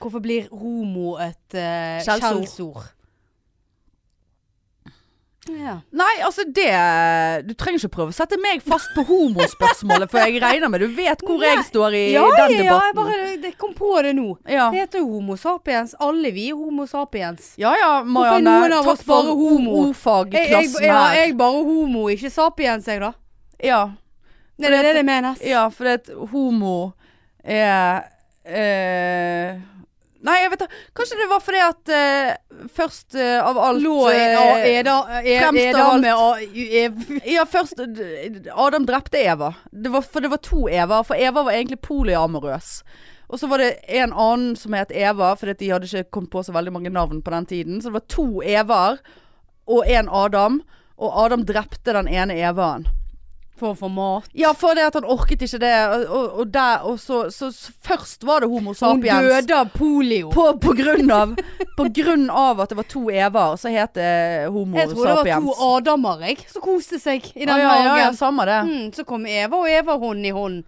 Speaker 2: Hvorfor blir homo et eh,
Speaker 1: Skjellsord.
Speaker 2: skjellsord? Ja.
Speaker 1: Nei, altså det Du trenger ikke prøve å sette meg fast på homospørsmålet, for jeg regner med du vet hvor jeg står i
Speaker 2: Ja, ja,
Speaker 1: den
Speaker 2: ja, jeg
Speaker 1: debatten.
Speaker 2: bare det kom på det nå.
Speaker 1: Ja,
Speaker 2: Det heter jo homo sapiens. Alle vi er homo sapiens.
Speaker 1: ja, ja
Speaker 2: Hvorfor er
Speaker 1: Marianne.
Speaker 2: noen av
Speaker 1: Takk
Speaker 2: oss bare
Speaker 1: for
Speaker 2: homo? Jeg, jeg,
Speaker 1: ordfagklassen
Speaker 2: ja,
Speaker 1: her.
Speaker 2: jeg bare homo, ikke sapiens, jeg, da.
Speaker 1: Ja,
Speaker 2: Det er det det menes.
Speaker 1: ja for det at homo er eh, Nei, jeg vet da Kanskje det var fordi at eh, først eh, av alt
Speaker 2: Lå i
Speaker 1: eh,
Speaker 2: Eda
Speaker 1: fremst av alt.
Speaker 2: med A- U- E-
Speaker 1: Ja, først d- Adam drepte Eva. Det var, for det var to Eva. For Eva var egentlig polyamorøs. Og så var det en annen som het Eva, fordi at de hadde ikke kommet på så veldig mange navn på den tiden. Så det var to Evaer og en Adam. Og Adam drepte den ene Evaen.
Speaker 2: For å få mat.
Speaker 1: Ja, for det at han orket ikke det. Og, og, og, der, og så, så, så først var det Homo
Speaker 2: Hun
Speaker 1: sapiens.
Speaker 2: døde av polio.
Speaker 1: På, på, grunn av, på grunn av at det var to Evaer, så het det Homo
Speaker 2: Jeg tror det var
Speaker 1: sapiens.
Speaker 2: to Adamer jeg, som koste seg i den
Speaker 1: ja, ja, ja, ja,
Speaker 2: hagen.
Speaker 1: samme det.
Speaker 2: Mm, så kom Eva og Eva hånd i hånd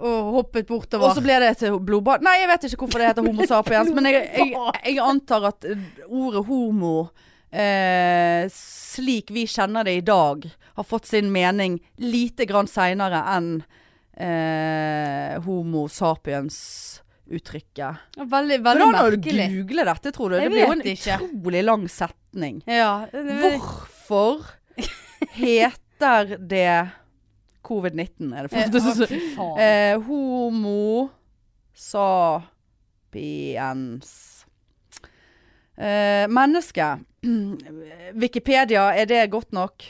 Speaker 2: og hoppet bortover.
Speaker 1: Og så ble det et blodbad. Nei, jeg vet ikke hvorfor det heter homo sapiens, men jeg, jeg,
Speaker 2: Blodbad.
Speaker 1: jeg antar at eh, ordet homo eh, slik vi kjenner det i dag, har fått sin mening lite grann seinere enn eh, homo sapiens-uttrykket.
Speaker 2: Veldig,
Speaker 1: Men
Speaker 2: veldig
Speaker 1: da må du
Speaker 2: merkelig.
Speaker 1: google dette, tror du.
Speaker 2: Jeg
Speaker 1: det blir jo en
Speaker 2: vet ikke.
Speaker 1: utrolig lang setning.
Speaker 2: Ja,
Speaker 1: Hvorfor heter det covid-19, er det
Speaker 2: Eh,
Speaker 1: første som
Speaker 2: å, fy faen.
Speaker 1: Eh, homo sapiens. Eh, menneske. Wikipedia, er det godt nok?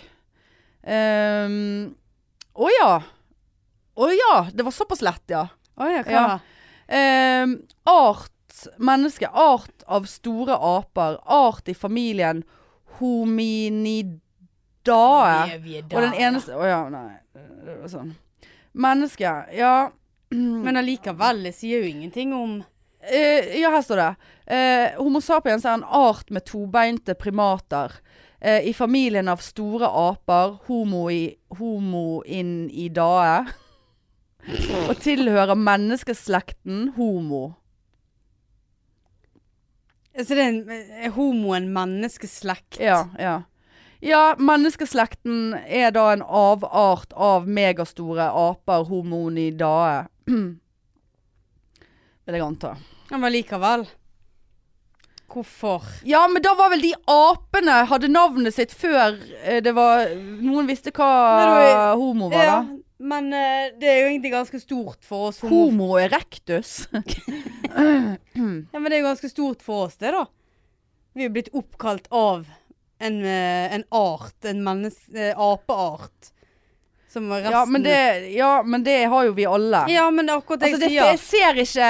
Speaker 1: Ehm, Å ja. Å ja. Det var såpass lett, ja.
Speaker 2: Å ja, hva
Speaker 1: Ja.
Speaker 2: da?
Speaker 1: Ehm, art menneske. Art av store aper. Art i familien hominidae.
Speaker 2: Vi er- vi er
Speaker 1: Og
Speaker 2: der,
Speaker 1: den eneste Å ja, nei. Det var sånn. Menneske, ja. Mm.
Speaker 2: ja. Men allikevel, det sier jo ingenting om
Speaker 1: Eh, ja, her står det. Eh, Homo sapiens er en art med tobeinte primater. Eh, I familien av store aper, homo, i, homo in i dae. Og tilhører menneskeslekten homo.
Speaker 2: Så Altså, det er, en, er homoen menneskeslekt?
Speaker 1: Ja, ja. Ja, menneskeslekten er da en avart av megastore aper, homonidae. Vil jeg anta.
Speaker 2: Ja, Men allikevel. Hvorfor?
Speaker 1: Ja, men da var vel de apene hadde navnet sitt før eh, det var Noen visste hva
Speaker 2: Nei,
Speaker 1: homo var,
Speaker 2: Ja,
Speaker 1: da.
Speaker 2: men eh, det er jo egentlig ganske stort for oss homo...
Speaker 1: Homo erectus.
Speaker 2: Ja, men det er jo ganske stort for oss det da. Vi er jo blitt oppkalt av en, eh, en art, en menneske... eh, apeart. Som resten...
Speaker 1: ja, men det, ja, men det har jo vi alle.
Speaker 2: Ja, men det er akkurat det
Speaker 1: altså, det,
Speaker 2: jeg
Speaker 1: jeg ser ikke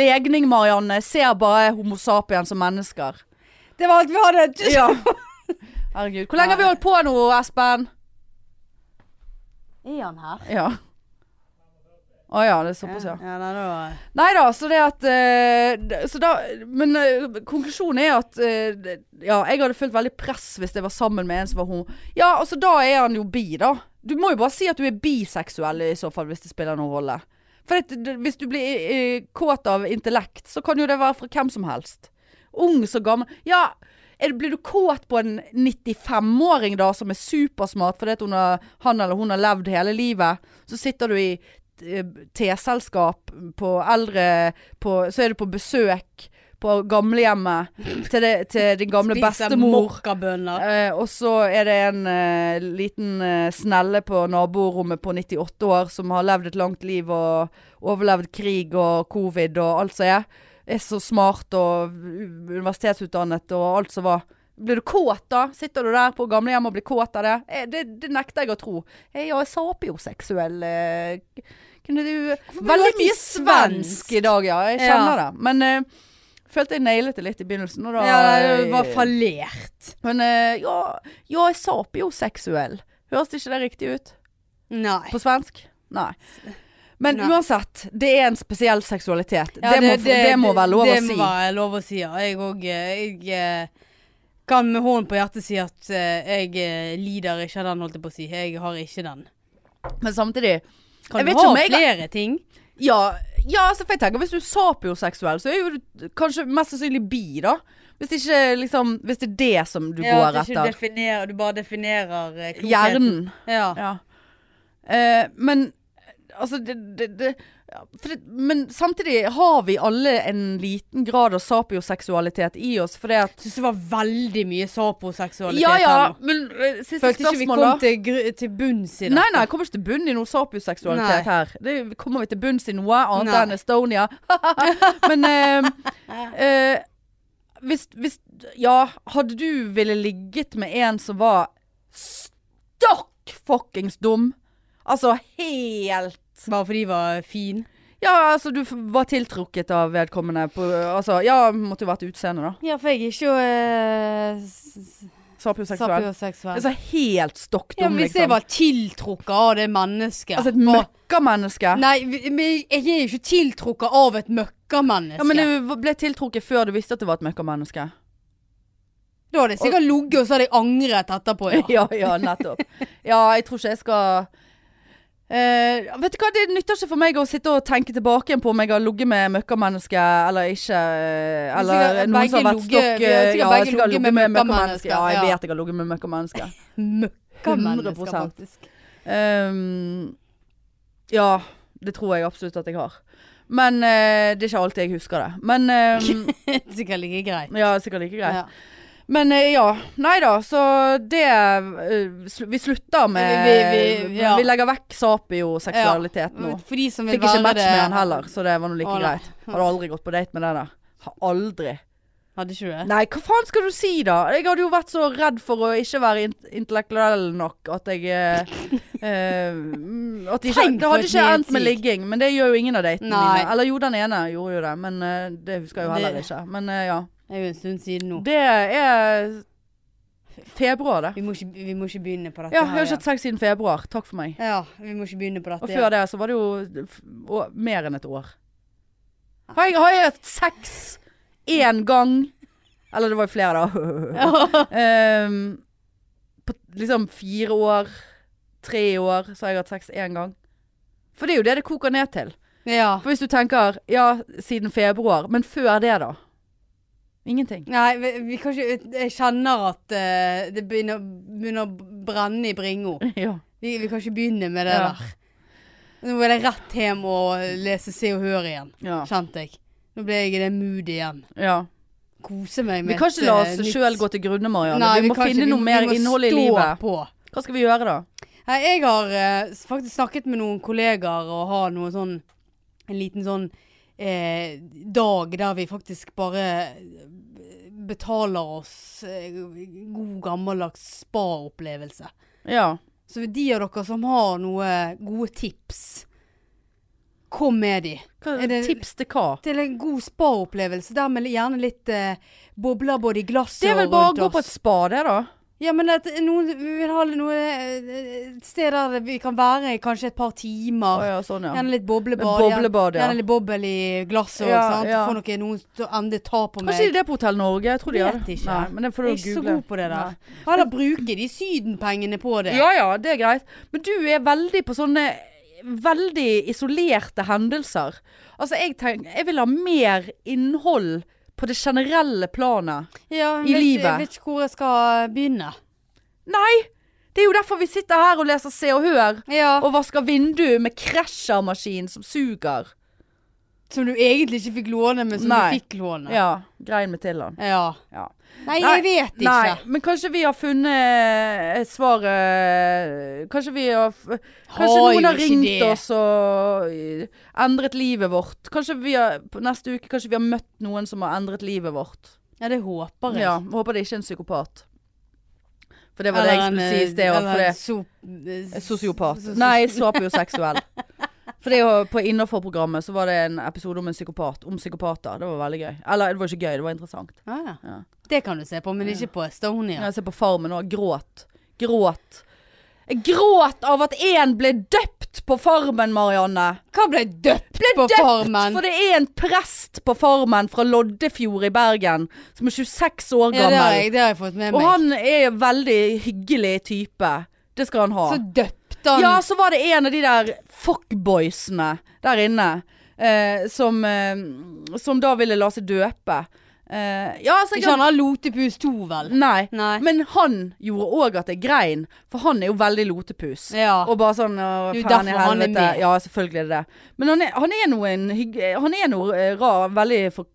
Speaker 1: legning, Marianne. Jeg ser bare Homo sapiens som mennesker.
Speaker 2: sier. Det var alt vi hadde.
Speaker 1: Ja. Herregud. Hvor lenge har vi holdt på nå, Espen?
Speaker 2: Er han her?
Speaker 1: Ja. Å ja, det er
Speaker 2: Ja,
Speaker 1: såpass, ja.
Speaker 2: ja nei, eh, det var...
Speaker 1: Nei da, så det at eh, d- så da, Men eh, konklusjonen er at eh, d- Ja, jeg hadde følt veldig press hvis jeg var sammen med en som var homo. Ja, altså da er han jo bi, da. Du må jo bare si at du er biseksuell i så fall, hvis det spiller noen rolle. For at, d- hvis du blir eh, kåt av intellekt, så kan jo det være fra hvem som helst. Ung så gammel Ja, er det, blir du kåt på en 95-åring da som er supersmart fordi at hun har, han eller hun har levd hele livet? Så sitter du i eh, teselskap på eldre på, Så er du på besøk på gamlehjemmet til, det, til din gamle bestemor.
Speaker 2: mokkabønner.
Speaker 1: Eh, og så er det en eh, liten eh, snelle på naborommet på 98 år som har levd et langt liv og overlevd krig og covid og alt som er. Er så smart og u- universitetsutdannet og alt som var. Blir du kåt da? Sitter du der på gamlehjem og blir kåt av det? Eh, det? Det nekter jeg å tro. Eh, ja, jeg sa opioseksuell. Eh, kunne du Veldig
Speaker 2: blir det alltid
Speaker 1: mye svensk
Speaker 2: svensk?
Speaker 1: i dag, ja. Jeg
Speaker 2: Ja.
Speaker 1: kjenner det. Men eh, følte jeg nailet det litt i begynnelsen. Og da,
Speaker 2: Ja, det var fallert.
Speaker 1: men eh, ja, ja, jeg sa bioseksuell. Høres ikke det riktig ut?
Speaker 2: Nei.
Speaker 1: På svensk? Nei. Men
Speaker 2: Nei.
Speaker 1: uansett, det er en spesiell seksualitet.
Speaker 2: Ja,
Speaker 1: det, må, det, må være lov å si.
Speaker 2: Det må være lov å si, ja. Jeg òg Jeg eh, kan med hånden på hjertet si at eh, jeg eh, lider ikke av den, holdt jeg på å si. Jeg har ikke den.
Speaker 1: Men samtidig Jeg vet
Speaker 2: Kan du
Speaker 1: ikke
Speaker 2: ha
Speaker 1: om jeg-
Speaker 2: flere ting?
Speaker 1: Ja, ja altså, for jeg tenker hvis du er sapioseksuell, så er jo du kanskje mest sannsynlig bi, da. Hvis, ikke, liksom, hvis det er det som du går
Speaker 2: at ikke
Speaker 1: etter.
Speaker 2: definerer, du bare definerer eh, klokheten.
Speaker 1: Hjernen.
Speaker 2: Ja.
Speaker 1: Ja. Eh, men Altså, det, det, det, ja, for det Men samtidig har vi alle en liten grad av sapioseksualitet i oss, fordi at
Speaker 2: Syns det var veldig mye saposeksualitet
Speaker 1: Ja ja,
Speaker 2: her nå.
Speaker 1: men eh, siste
Speaker 2: Følte ikke vi
Speaker 1: spørsmål,
Speaker 2: kom
Speaker 1: da.
Speaker 2: til, gr- til bunns i det.
Speaker 1: Nei, nei, kommer ikke til bunn i noe sapiseksualitet her. Det kommer vi til bunns i noe annet
Speaker 2: Nei.
Speaker 1: enn Estonia. Men eh, eh, hvis, hvis Ja, hadde du ville ligget med en som var stokk fuckings dum? Altså helt
Speaker 2: Bare fordi de var fin.
Speaker 1: Ja, altså du f- var tiltrukket av vedkommende på Altså, ja, måtte jo vært utseende, da.
Speaker 2: Ja, for jeg er ikke
Speaker 1: eh, Sapioseksuell.
Speaker 2: sapioseksuell.
Speaker 1: Altså helt stokk
Speaker 2: Ja,
Speaker 1: dum, liksom.
Speaker 2: men hvis jeg var tiltrukket av det mennesket
Speaker 1: Altså et møkkamenneske.
Speaker 2: Nei, vi- men jeg er jo ikke tiltrukket av et møkkamenneske.
Speaker 1: Ja, men du ble tiltrukket før du visste at det var et møkkamenneske.
Speaker 2: Da hadde jeg sikkert ligget, og så hadde jeg angret etterpå. Ja.
Speaker 1: ja, ja, nettopp. Ja, jeg tror ikke jeg skal Eh, vet du hva, Det nytter ikke for meg å sitte og tenke tilbake igjen på om jeg har ligget med møkkamennesker eller ikke. eh, Eller
Speaker 2: sikkert
Speaker 1: noen som har vært
Speaker 2: begge
Speaker 1: stokk
Speaker 2: ligget- vi har
Speaker 1: eh,
Speaker 2: sikkert
Speaker 1: Ja,
Speaker 2: begge
Speaker 1: jeg sikkert
Speaker 2: ligget
Speaker 1: ligget
Speaker 2: med
Speaker 1: med møkkamennesker. Ja, jeg
Speaker 2: møkkamennesker, ja.
Speaker 1: vet jeg har ligget med møkkamennesker.
Speaker 2: Møkkamennesker,
Speaker 1: 100%.
Speaker 2: faktisk.
Speaker 1: Ehm, ja, det tror jeg absolutt at jeg har. Men eh, det er ikke alltid jeg husker det. Men ehm,
Speaker 2: sikkert like greit.
Speaker 1: Ja, sikkert like greit.
Speaker 2: Ja.
Speaker 1: Men eh, ja. Nei da, så det eh, sl Vi slutter med
Speaker 2: Vi- vi- vi- ja.
Speaker 1: legger vekk sapioseksualitet nå.
Speaker 2: For de som vil
Speaker 1: Fikk ikke
Speaker 2: være
Speaker 1: match
Speaker 2: det
Speaker 1: med han heller, så det var nå like
Speaker 2: Å, nei.
Speaker 1: greit. Hadde aldri gått på date med den der. Har Aldri.
Speaker 2: Hadde ikke du det?
Speaker 1: Nei, hva faen skal du si da? Jeg hadde jo vært så redd for å ikke være int intellektuell nok at jeg eh, eh, mm, at ikke, Det
Speaker 2: Tenk for
Speaker 1: hadde
Speaker 2: et
Speaker 1: ikke endt med
Speaker 2: nyhetsrik.
Speaker 1: ligging, men det gjør jo ingen av datene
Speaker 2: Nei.
Speaker 1: mine. Eller jo, den ene gjorde jo det, men eh, det husker jeg jo heller
Speaker 2: Det-
Speaker 1: ikke. Men eh, ja.
Speaker 2: Det er jo en stund siden nå.
Speaker 1: Det er februar, det.
Speaker 2: Vi må ikke, vi må ikke begynne på dette
Speaker 1: Ja, jeg har
Speaker 2: her
Speaker 1: ikke hatt sex siden februar. Takk for meg.
Speaker 2: igjen. Ja, vi må ikke begynne på
Speaker 1: Og
Speaker 2: dette.
Speaker 1: før det så var det jo f- å, mer enn et år. Har jeg, har jeg hatt sex én gang? Eller det var jo flere, da.
Speaker 2: Ja.
Speaker 1: Ehm, på liksom fire år, tre år, så har jeg hatt sex én gang. For det er jo det det koker ned til.
Speaker 2: ja.
Speaker 1: For hvis du tenker ja, siden februar, men før det, da? Ingenting.
Speaker 2: Nei, vi, vi kan ikke, jeg kjenner at eh, det begynner, begynner å brenne i bringa.
Speaker 1: Ja.
Speaker 2: Vi, vi kan ikke begynne med det
Speaker 1: Ja.
Speaker 2: der. Nå er det rett hjem og lese Se og Hør igjen,
Speaker 1: Ja.
Speaker 2: kjente jeg. Nå ble jeg i det mood igjen.
Speaker 1: ja.
Speaker 2: Kose meg med
Speaker 1: Vi kan ikke
Speaker 2: eh,
Speaker 1: la oss sjøl
Speaker 2: selv
Speaker 1: gå til grunne, Marianne. vi, må finne noe mer innhold i livet.
Speaker 2: På.
Speaker 1: Hva skal vi gjøre da?
Speaker 2: Nei, jeg har eh, s- faktisk snakket med noen kollegaer og har noe sånn En liten sånn eh, dag der vi faktisk bare eh, betaler oss eh, god gammeldags spa-opplevelse.
Speaker 1: Ja.
Speaker 2: Så de av dere som har noen gode tips, kom med de.
Speaker 1: Hva,
Speaker 2: Er det-
Speaker 1: tips til hva?
Speaker 2: Til en god spa-opplevelse, der med gjerne litt eh, bobler både i glasset
Speaker 1: Det er vel
Speaker 2: og
Speaker 1: bare å
Speaker 2: rundt
Speaker 1: gå på et
Speaker 2: oss.
Speaker 1: spa, det da.
Speaker 2: Ja, men at noen, vi vil ha noe, eh, et sted der vi kan være i kanskje et par timer.
Speaker 1: Å ja, sånn ja.
Speaker 2: Gjerne litt boblebad.
Speaker 1: Med boblebad,
Speaker 2: gjerne-
Speaker 1: ja.
Speaker 2: Gjerne litt boble i
Speaker 1: Ja,
Speaker 2: glasset. Ja, sant?
Speaker 1: ja.
Speaker 2: Få noe noen til å endelig ta på meg.
Speaker 1: Kanskje det er på Hotell Norge? Jeg tror de
Speaker 2: Vet
Speaker 1: gjør det.
Speaker 2: ikke.
Speaker 1: Nei, men det får
Speaker 2: jeg
Speaker 1: du
Speaker 2: er ikke så
Speaker 1: google.
Speaker 2: god på det der.
Speaker 1: Nei.
Speaker 2: Heller bruke de sydenpengene på det.
Speaker 1: Ja ja, det er greit. Men du er veldig på sånne veldig isolerte hendelser. Altså, jeg tenker Jeg vil ha mer innhold på det generelle planet.
Speaker 2: Ja, men
Speaker 1: I
Speaker 2: vet-
Speaker 1: livet.
Speaker 2: Jeg vet ikke hvor jeg skal begynne.
Speaker 1: Nei! Det er jo derfor vi sitter her og leser Se og Hør.
Speaker 2: Ja,
Speaker 1: Og vasker vinduet med krasjermaskin som suger.
Speaker 2: Som du egentlig ikke fikk låne, men som
Speaker 1: Nei.
Speaker 2: du fikk låne.
Speaker 1: Ja, grein med Tilland.
Speaker 2: Ja.
Speaker 1: Ja.
Speaker 2: Nei,
Speaker 1: Nei,
Speaker 2: jeg vet ikke.
Speaker 1: Nei, men kanskje vi har funnet et svar eh, Kanskje vi har f- Kanskje
Speaker 2: Har jo
Speaker 1: noen har
Speaker 2: ikke
Speaker 1: ringt
Speaker 2: det.
Speaker 1: oss og eh, endret livet vårt. Kanskje vi har, på neste uke kanskje vi har møtt noen som har endret livet vårt.
Speaker 2: Ja, det håper jeg.
Speaker 1: Ja, Håper det ikke er en psykopat. For det var det jeg
Speaker 2: Eller en,
Speaker 1: skulle si i sted.
Speaker 2: eh,
Speaker 1: og
Speaker 2: eller
Speaker 1: for det- Eh,
Speaker 2: en sop-
Speaker 1: Sosiopat.
Speaker 2: sos-
Speaker 1: Nei, sapioseksuell. For det er jo på Innafor-programmet så var det en episode om en psykopat. Om psykopater. Det var veldig gøy. Eller det var ikke gøy, det var interessant.
Speaker 2: Ah, Ja, ja.
Speaker 1: Ja.
Speaker 2: Det kan du se på, men ikke på Estonia.
Speaker 1: Jeg ser på Farmen og gråt. Gråt. Jeg gråt av at én ble døpt på Farmen, Marianne.
Speaker 2: Hva ble døpt på
Speaker 1: døpt
Speaker 2: Farmen?
Speaker 1: For det er en prest på Farmen fra Loddefjord i Bergen som er 26 år
Speaker 2: Ja, det har
Speaker 1: gammel.
Speaker 2: jeg, det har jeg fått med
Speaker 1: og
Speaker 2: meg.
Speaker 1: han er en veldig hyggelig type. Det skal han ha.
Speaker 2: Så døpte han
Speaker 1: Ja, så var det en av de der fuckboysene der inne eh, som, eh, som da ville la seg døpe. Eh, ja, altså jeg
Speaker 2: Ikke han har lotepus 2, vel?
Speaker 1: Nei.
Speaker 2: Nei.
Speaker 1: Men han gjorde òg at jeg grein, for han er jo veldig lotepus.
Speaker 2: Ja.
Speaker 1: Og bare sånn å,
Speaker 2: Det er jo
Speaker 1: faen i
Speaker 2: derfor han er
Speaker 1: helvete.
Speaker 2: med.
Speaker 1: Ja, selvfølgelig er det det. Men han er, han er noe, en hygg... Han er noe eh, rar, veldig for-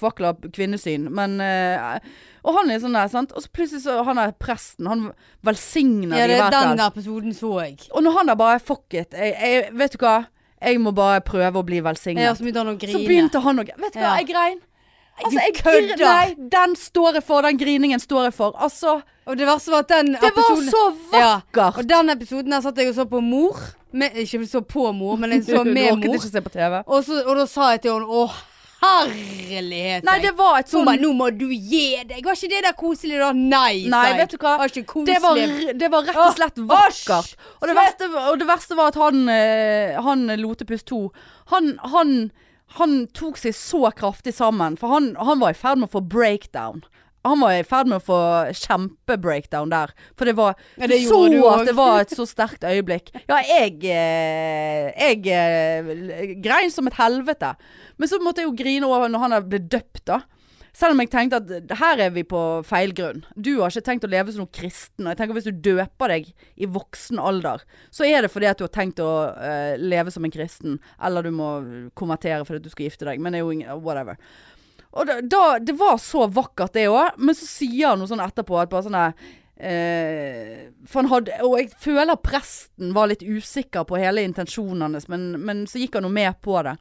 Speaker 1: forkvakla kvinnesyn, men eh, Og han er sånn der, sant. Og så plutselig så Han er presten. Han velsigner de
Speaker 2: Ja, det er
Speaker 1: hver kveld.
Speaker 2: den episoden så jeg.
Speaker 1: Og når han da bare Fuck it. Jeg, jeg, vet du hva? Jeg må bare prøve å bli velsignet.
Speaker 2: Ja, så begynte han å grine.
Speaker 1: Så begynte han å grine. Vet du hva,
Speaker 2: Ja.
Speaker 1: jeg grein. Altså, jeg
Speaker 2: kødder.
Speaker 1: kødder. Nei, den står jeg for. Den griningen står jeg for. Altså,
Speaker 2: Og det verste var at den
Speaker 1: det var
Speaker 2: episoden
Speaker 1: så
Speaker 2: Ja,
Speaker 1: vakkert.
Speaker 2: Og den episoden der satt jeg og så på mor. Med, ikke så på mor, men jeg så
Speaker 1: du
Speaker 2: med
Speaker 1: orket
Speaker 2: mor.
Speaker 1: ikke se på TV.
Speaker 2: Og, så, og da sa jeg til henne å herlighet.
Speaker 1: Nei, det var et
Speaker 2: Hun
Speaker 1: sånn
Speaker 2: bare 'nå må du gi deg'. Var ikke det der koselig, da?
Speaker 1: Nei,
Speaker 2: Nei, sa jeg.
Speaker 1: vet du hva?
Speaker 2: Var ikke koselig.
Speaker 1: det var, det var rett og slett
Speaker 2: Åh,
Speaker 1: vakkert. Og det
Speaker 2: Slutt!
Speaker 1: verste, og det verste var at han, eh, han Lotepus 2, han, han, han tok seg så kraftig sammen. For han, han var i ferd med å få breakdown. Han var i ferd med å få kjempebreakdown der. For det var
Speaker 2: Ja, det
Speaker 1: Du så
Speaker 2: gjorde du også.
Speaker 1: at det var et så sterkt øyeblikk. Ja, jeg, eh, jeg eh, grein som et helvete. Men så måtte jeg jo grine over når han ble døpt, da. Selv om jeg tenkte at her er vi på feil grunn. Du har ikke tenkt å leve som noen kristen. Og jeg tenker Hvis du døper deg i voksen alder, så er det fordi at du har tenkt å eh, leve som en kristen. Eller du må konvertere fordi at du skal gifte deg. Men det er jo ingen, whatever. Og da, da, det var så vakkert, det òg. Men så sier han noe sånn etterpå at bare sånn der, eh, For han hadde Og jeg føler presten var litt usikker på hele intensjonen hans, men, men så gikk han jo med på det.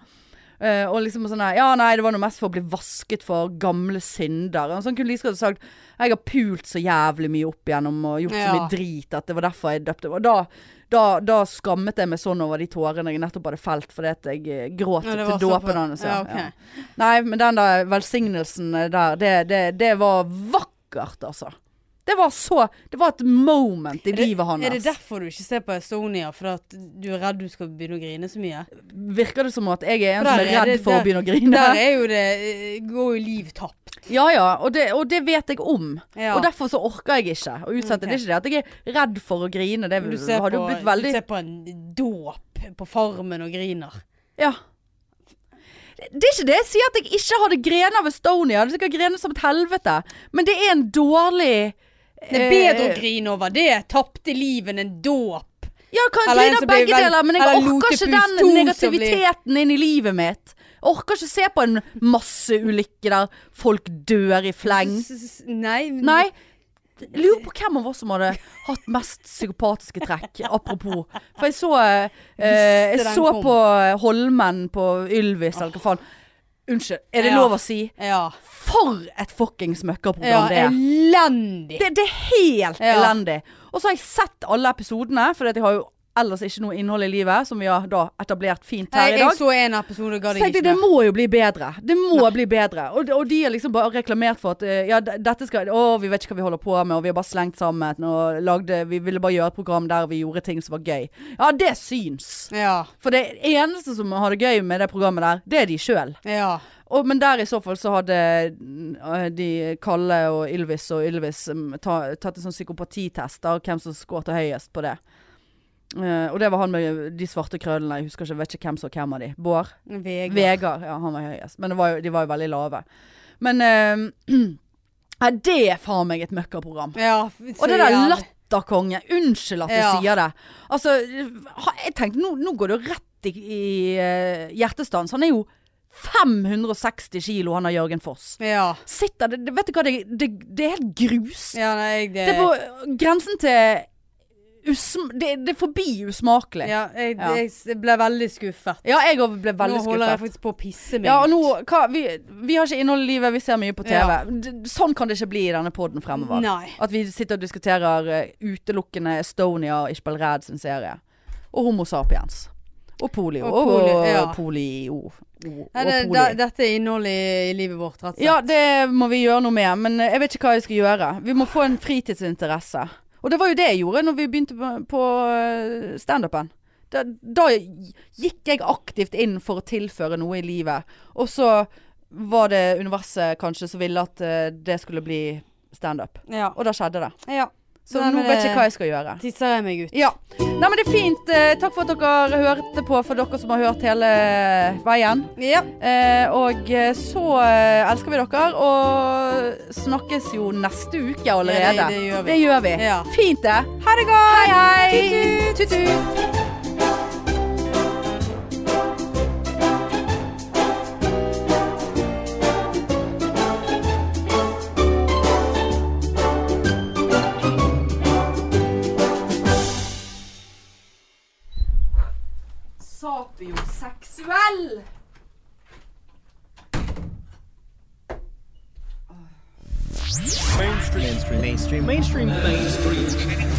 Speaker 1: Eh, og liksom sånn der, Ja, nei, det var noe mest for å bli vasket for gamle synder. Og så han kunne like så godt sagt Jeg har pult så jævlig mye opp igjennom og gjort så
Speaker 2: Ja.
Speaker 1: mye drit at det var derfor jeg døpte Og da, da, da skammet jeg meg sånn over de tårene jeg nettopp hadde felt fordi at jeg eh, gråt
Speaker 2: Ja, det var
Speaker 1: til
Speaker 2: så på-
Speaker 1: dåpen hans.
Speaker 2: Ja, ok.
Speaker 1: Nei, men den der velsignelsen eh, der, det, det, det var vakkert, altså. Det var så Det var et moment i
Speaker 2: Er det-
Speaker 1: livet hans.
Speaker 2: Er det derfor du ikke ser på Estonia? Fordi at du er redd du skal begynne å grine så mye?
Speaker 1: Virker det som at jeg er en
Speaker 2: For
Speaker 1: som
Speaker 2: der
Speaker 1: er
Speaker 2: er
Speaker 1: redd
Speaker 2: det-
Speaker 1: for å begynne å grine?
Speaker 2: Der er jo det eh, Går jo liv tapt.
Speaker 1: Ja ja, og det, og det vet jeg om.
Speaker 2: Ja.
Speaker 1: Og derfor så orker jeg ikke å utsette.
Speaker 2: Ok.
Speaker 1: Det er ikke det at jeg er redd for å grine. Det
Speaker 2: Du ser,
Speaker 1: hadde
Speaker 2: på,
Speaker 1: jo blitt
Speaker 2: du
Speaker 1: veldig
Speaker 2: ser på en dåp på Farmen og griner.
Speaker 1: Ja. Det er ikke det jeg sier at jeg ikke hadde grener av Estonia. Jeg hadde sikkert grener som et helvete. Men det er en dårlig
Speaker 2: Det er bedre
Speaker 1: Eh,
Speaker 2: å grine over det. Tapte livet enn en dåp.
Speaker 1: Ja, kan
Speaker 2: Eller en
Speaker 1: grine
Speaker 2: som
Speaker 1: begge
Speaker 2: blir vel-
Speaker 1: deler, men jeg
Speaker 2: eller
Speaker 1: orker
Speaker 2: lotepus
Speaker 1: ikke den
Speaker 2: to som
Speaker 1: negativiteten inn i livet mitt. Jeg orker ikke se på en masseulykke der folk dør i fleng.
Speaker 2: S- s- Nei. men-
Speaker 1: Nei. jeg Lurer på hvem av oss som hadde hatt mest psykopatiske trekk. Apropos. For jeg så, eh, jeg
Speaker 2: Visste den
Speaker 1: så
Speaker 2: kom.
Speaker 1: på Holmen på Ylvis, eller hva faen. Unnskyld, er det
Speaker 2: Ja.
Speaker 1: lov å si?
Speaker 2: Ja.
Speaker 1: For et fuckings
Speaker 2: ja
Speaker 1: møkkaprogram det er.
Speaker 2: elendig.
Speaker 1: Det, det er helt
Speaker 2: Ja.
Speaker 1: elendig. Og så har jeg sett alle episodene, for de har jo ellers ikke noe innhold i livet, som vi har da etablert fint her
Speaker 2: Nei,
Speaker 1: i
Speaker 2: jeg
Speaker 1: dag.
Speaker 2: så en episode og
Speaker 1: Så
Speaker 2: ga deg
Speaker 1: tenkte
Speaker 2: ikke
Speaker 1: jeg, det
Speaker 2: mer.
Speaker 1: må jo bli bedre. Det må bli bedre. Og, og de har liksom bare reklamert for at eh, ja, d- dette skal Å, vi vet ikke hva vi holder på med, og vi har bare slengt sammen og lagde Vi ville bare gjøre et program der vi gjorde ting som var gøy. Ja, det syns.
Speaker 2: Ja.
Speaker 1: For det eneste som har det gøy med det programmet der, det er de sjøl.
Speaker 2: Ja.
Speaker 1: Og, men der i så fall så hadde mm, de Kalle og Ylvis og Ylvis mm, ta, tatt en sånn psykopatitest av hvem som skåret høyest på det. Eh, og det var han med de svarte krøllene. Jeg husker ikke, vet ikke hvem som hvem av de. Bård?
Speaker 2: Vegard.
Speaker 1: Vegard. Ja, han var høyest. Men det var jo, de var jo veldig lave. Men eh, ja, det er faen meg et møkkaprogram.
Speaker 2: Ja,
Speaker 1: Og det der latterkonge. Unnskyld at jeg
Speaker 2: Ja.
Speaker 1: sier det. Altså, ha- jeg tenkte nå, nå går det jo rett i, i eh, hjertestans. Han er jo 560 kilo, han har Jørgen Foss.
Speaker 2: Ja.
Speaker 1: Sitter det, det Vet du hva, det, det, det er helt grus.
Speaker 2: ja nei, jeg, det,
Speaker 1: Det er på grensen til usm... Det, det er forbi usmakelig. Ja,
Speaker 2: ja, jeg,
Speaker 1: Ja.
Speaker 2: jeg s- ble veldig skuffet.
Speaker 1: jeg òg ble veldig
Speaker 2: Nå holder jeg
Speaker 1: skuffet.
Speaker 2: faktisk på å pisse meg
Speaker 1: Ja, og
Speaker 2: ut.
Speaker 1: nå, hva, vi, vi har ikke innhold i livet, vi ser mye på TV.
Speaker 2: Ja.
Speaker 1: D- Sånn kan det ikke bli i denne poden fremover.
Speaker 2: Nei.
Speaker 1: At vi sitter og diskuterer eh, utelukkende Estonia og Ishbel Red sin serie. Og Homo sapiens. Og polio.
Speaker 2: Og
Speaker 1: Og,
Speaker 2: polio,
Speaker 1: og
Speaker 2: ja.
Speaker 1: polio. Og, og
Speaker 2: Nei, det,
Speaker 1: polio.
Speaker 2: da, dette er innholdet i, i livet vårt, rett og slett.
Speaker 1: Ja, det må vi gjøre noe med. Men eh, jeg vet ikke hva jeg skal gjøre. Vi må få en fritidsinteresse. Og det var jo det jeg gjorde når vi begynte på- på eh, standupen. Da, da gikk jeg aktivt inn for å tilføre noe i livet. Og så var det universet kanskje som ville at eh, det skulle bli standup.
Speaker 2: Ja.
Speaker 1: Og da skjedde det.
Speaker 2: ja.
Speaker 1: Så
Speaker 2: Nei,
Speaker 1: nå
Speaker 2: men
Speaker 1: vet jeg
Speaker 2: det-
Speaker 1: ikke hva jeg skal gjøre.
Speaker 2: Tisser jeg meg ut?
Speaker 1: Ja. Nei, men det er fint. Eh, Takk for at dere hørte på, for dere som har hørt hele veien.
Speaker 2: Ja.
Speaker 1: Eh, og eh, så eh, elsker vi dere, og snakkes jo neste uke allerede.
Speaker 2: Ja, det- det gjør vi.
Speaker 1: Det gjør vi.
Speaker 2: Ja.
Speaker 1: Fint det. Ha det godt. Hei, hei. Tut-tut. Sapioseksuell!
Speaker 4: mainstream mainstream mainstream mainstream mainstream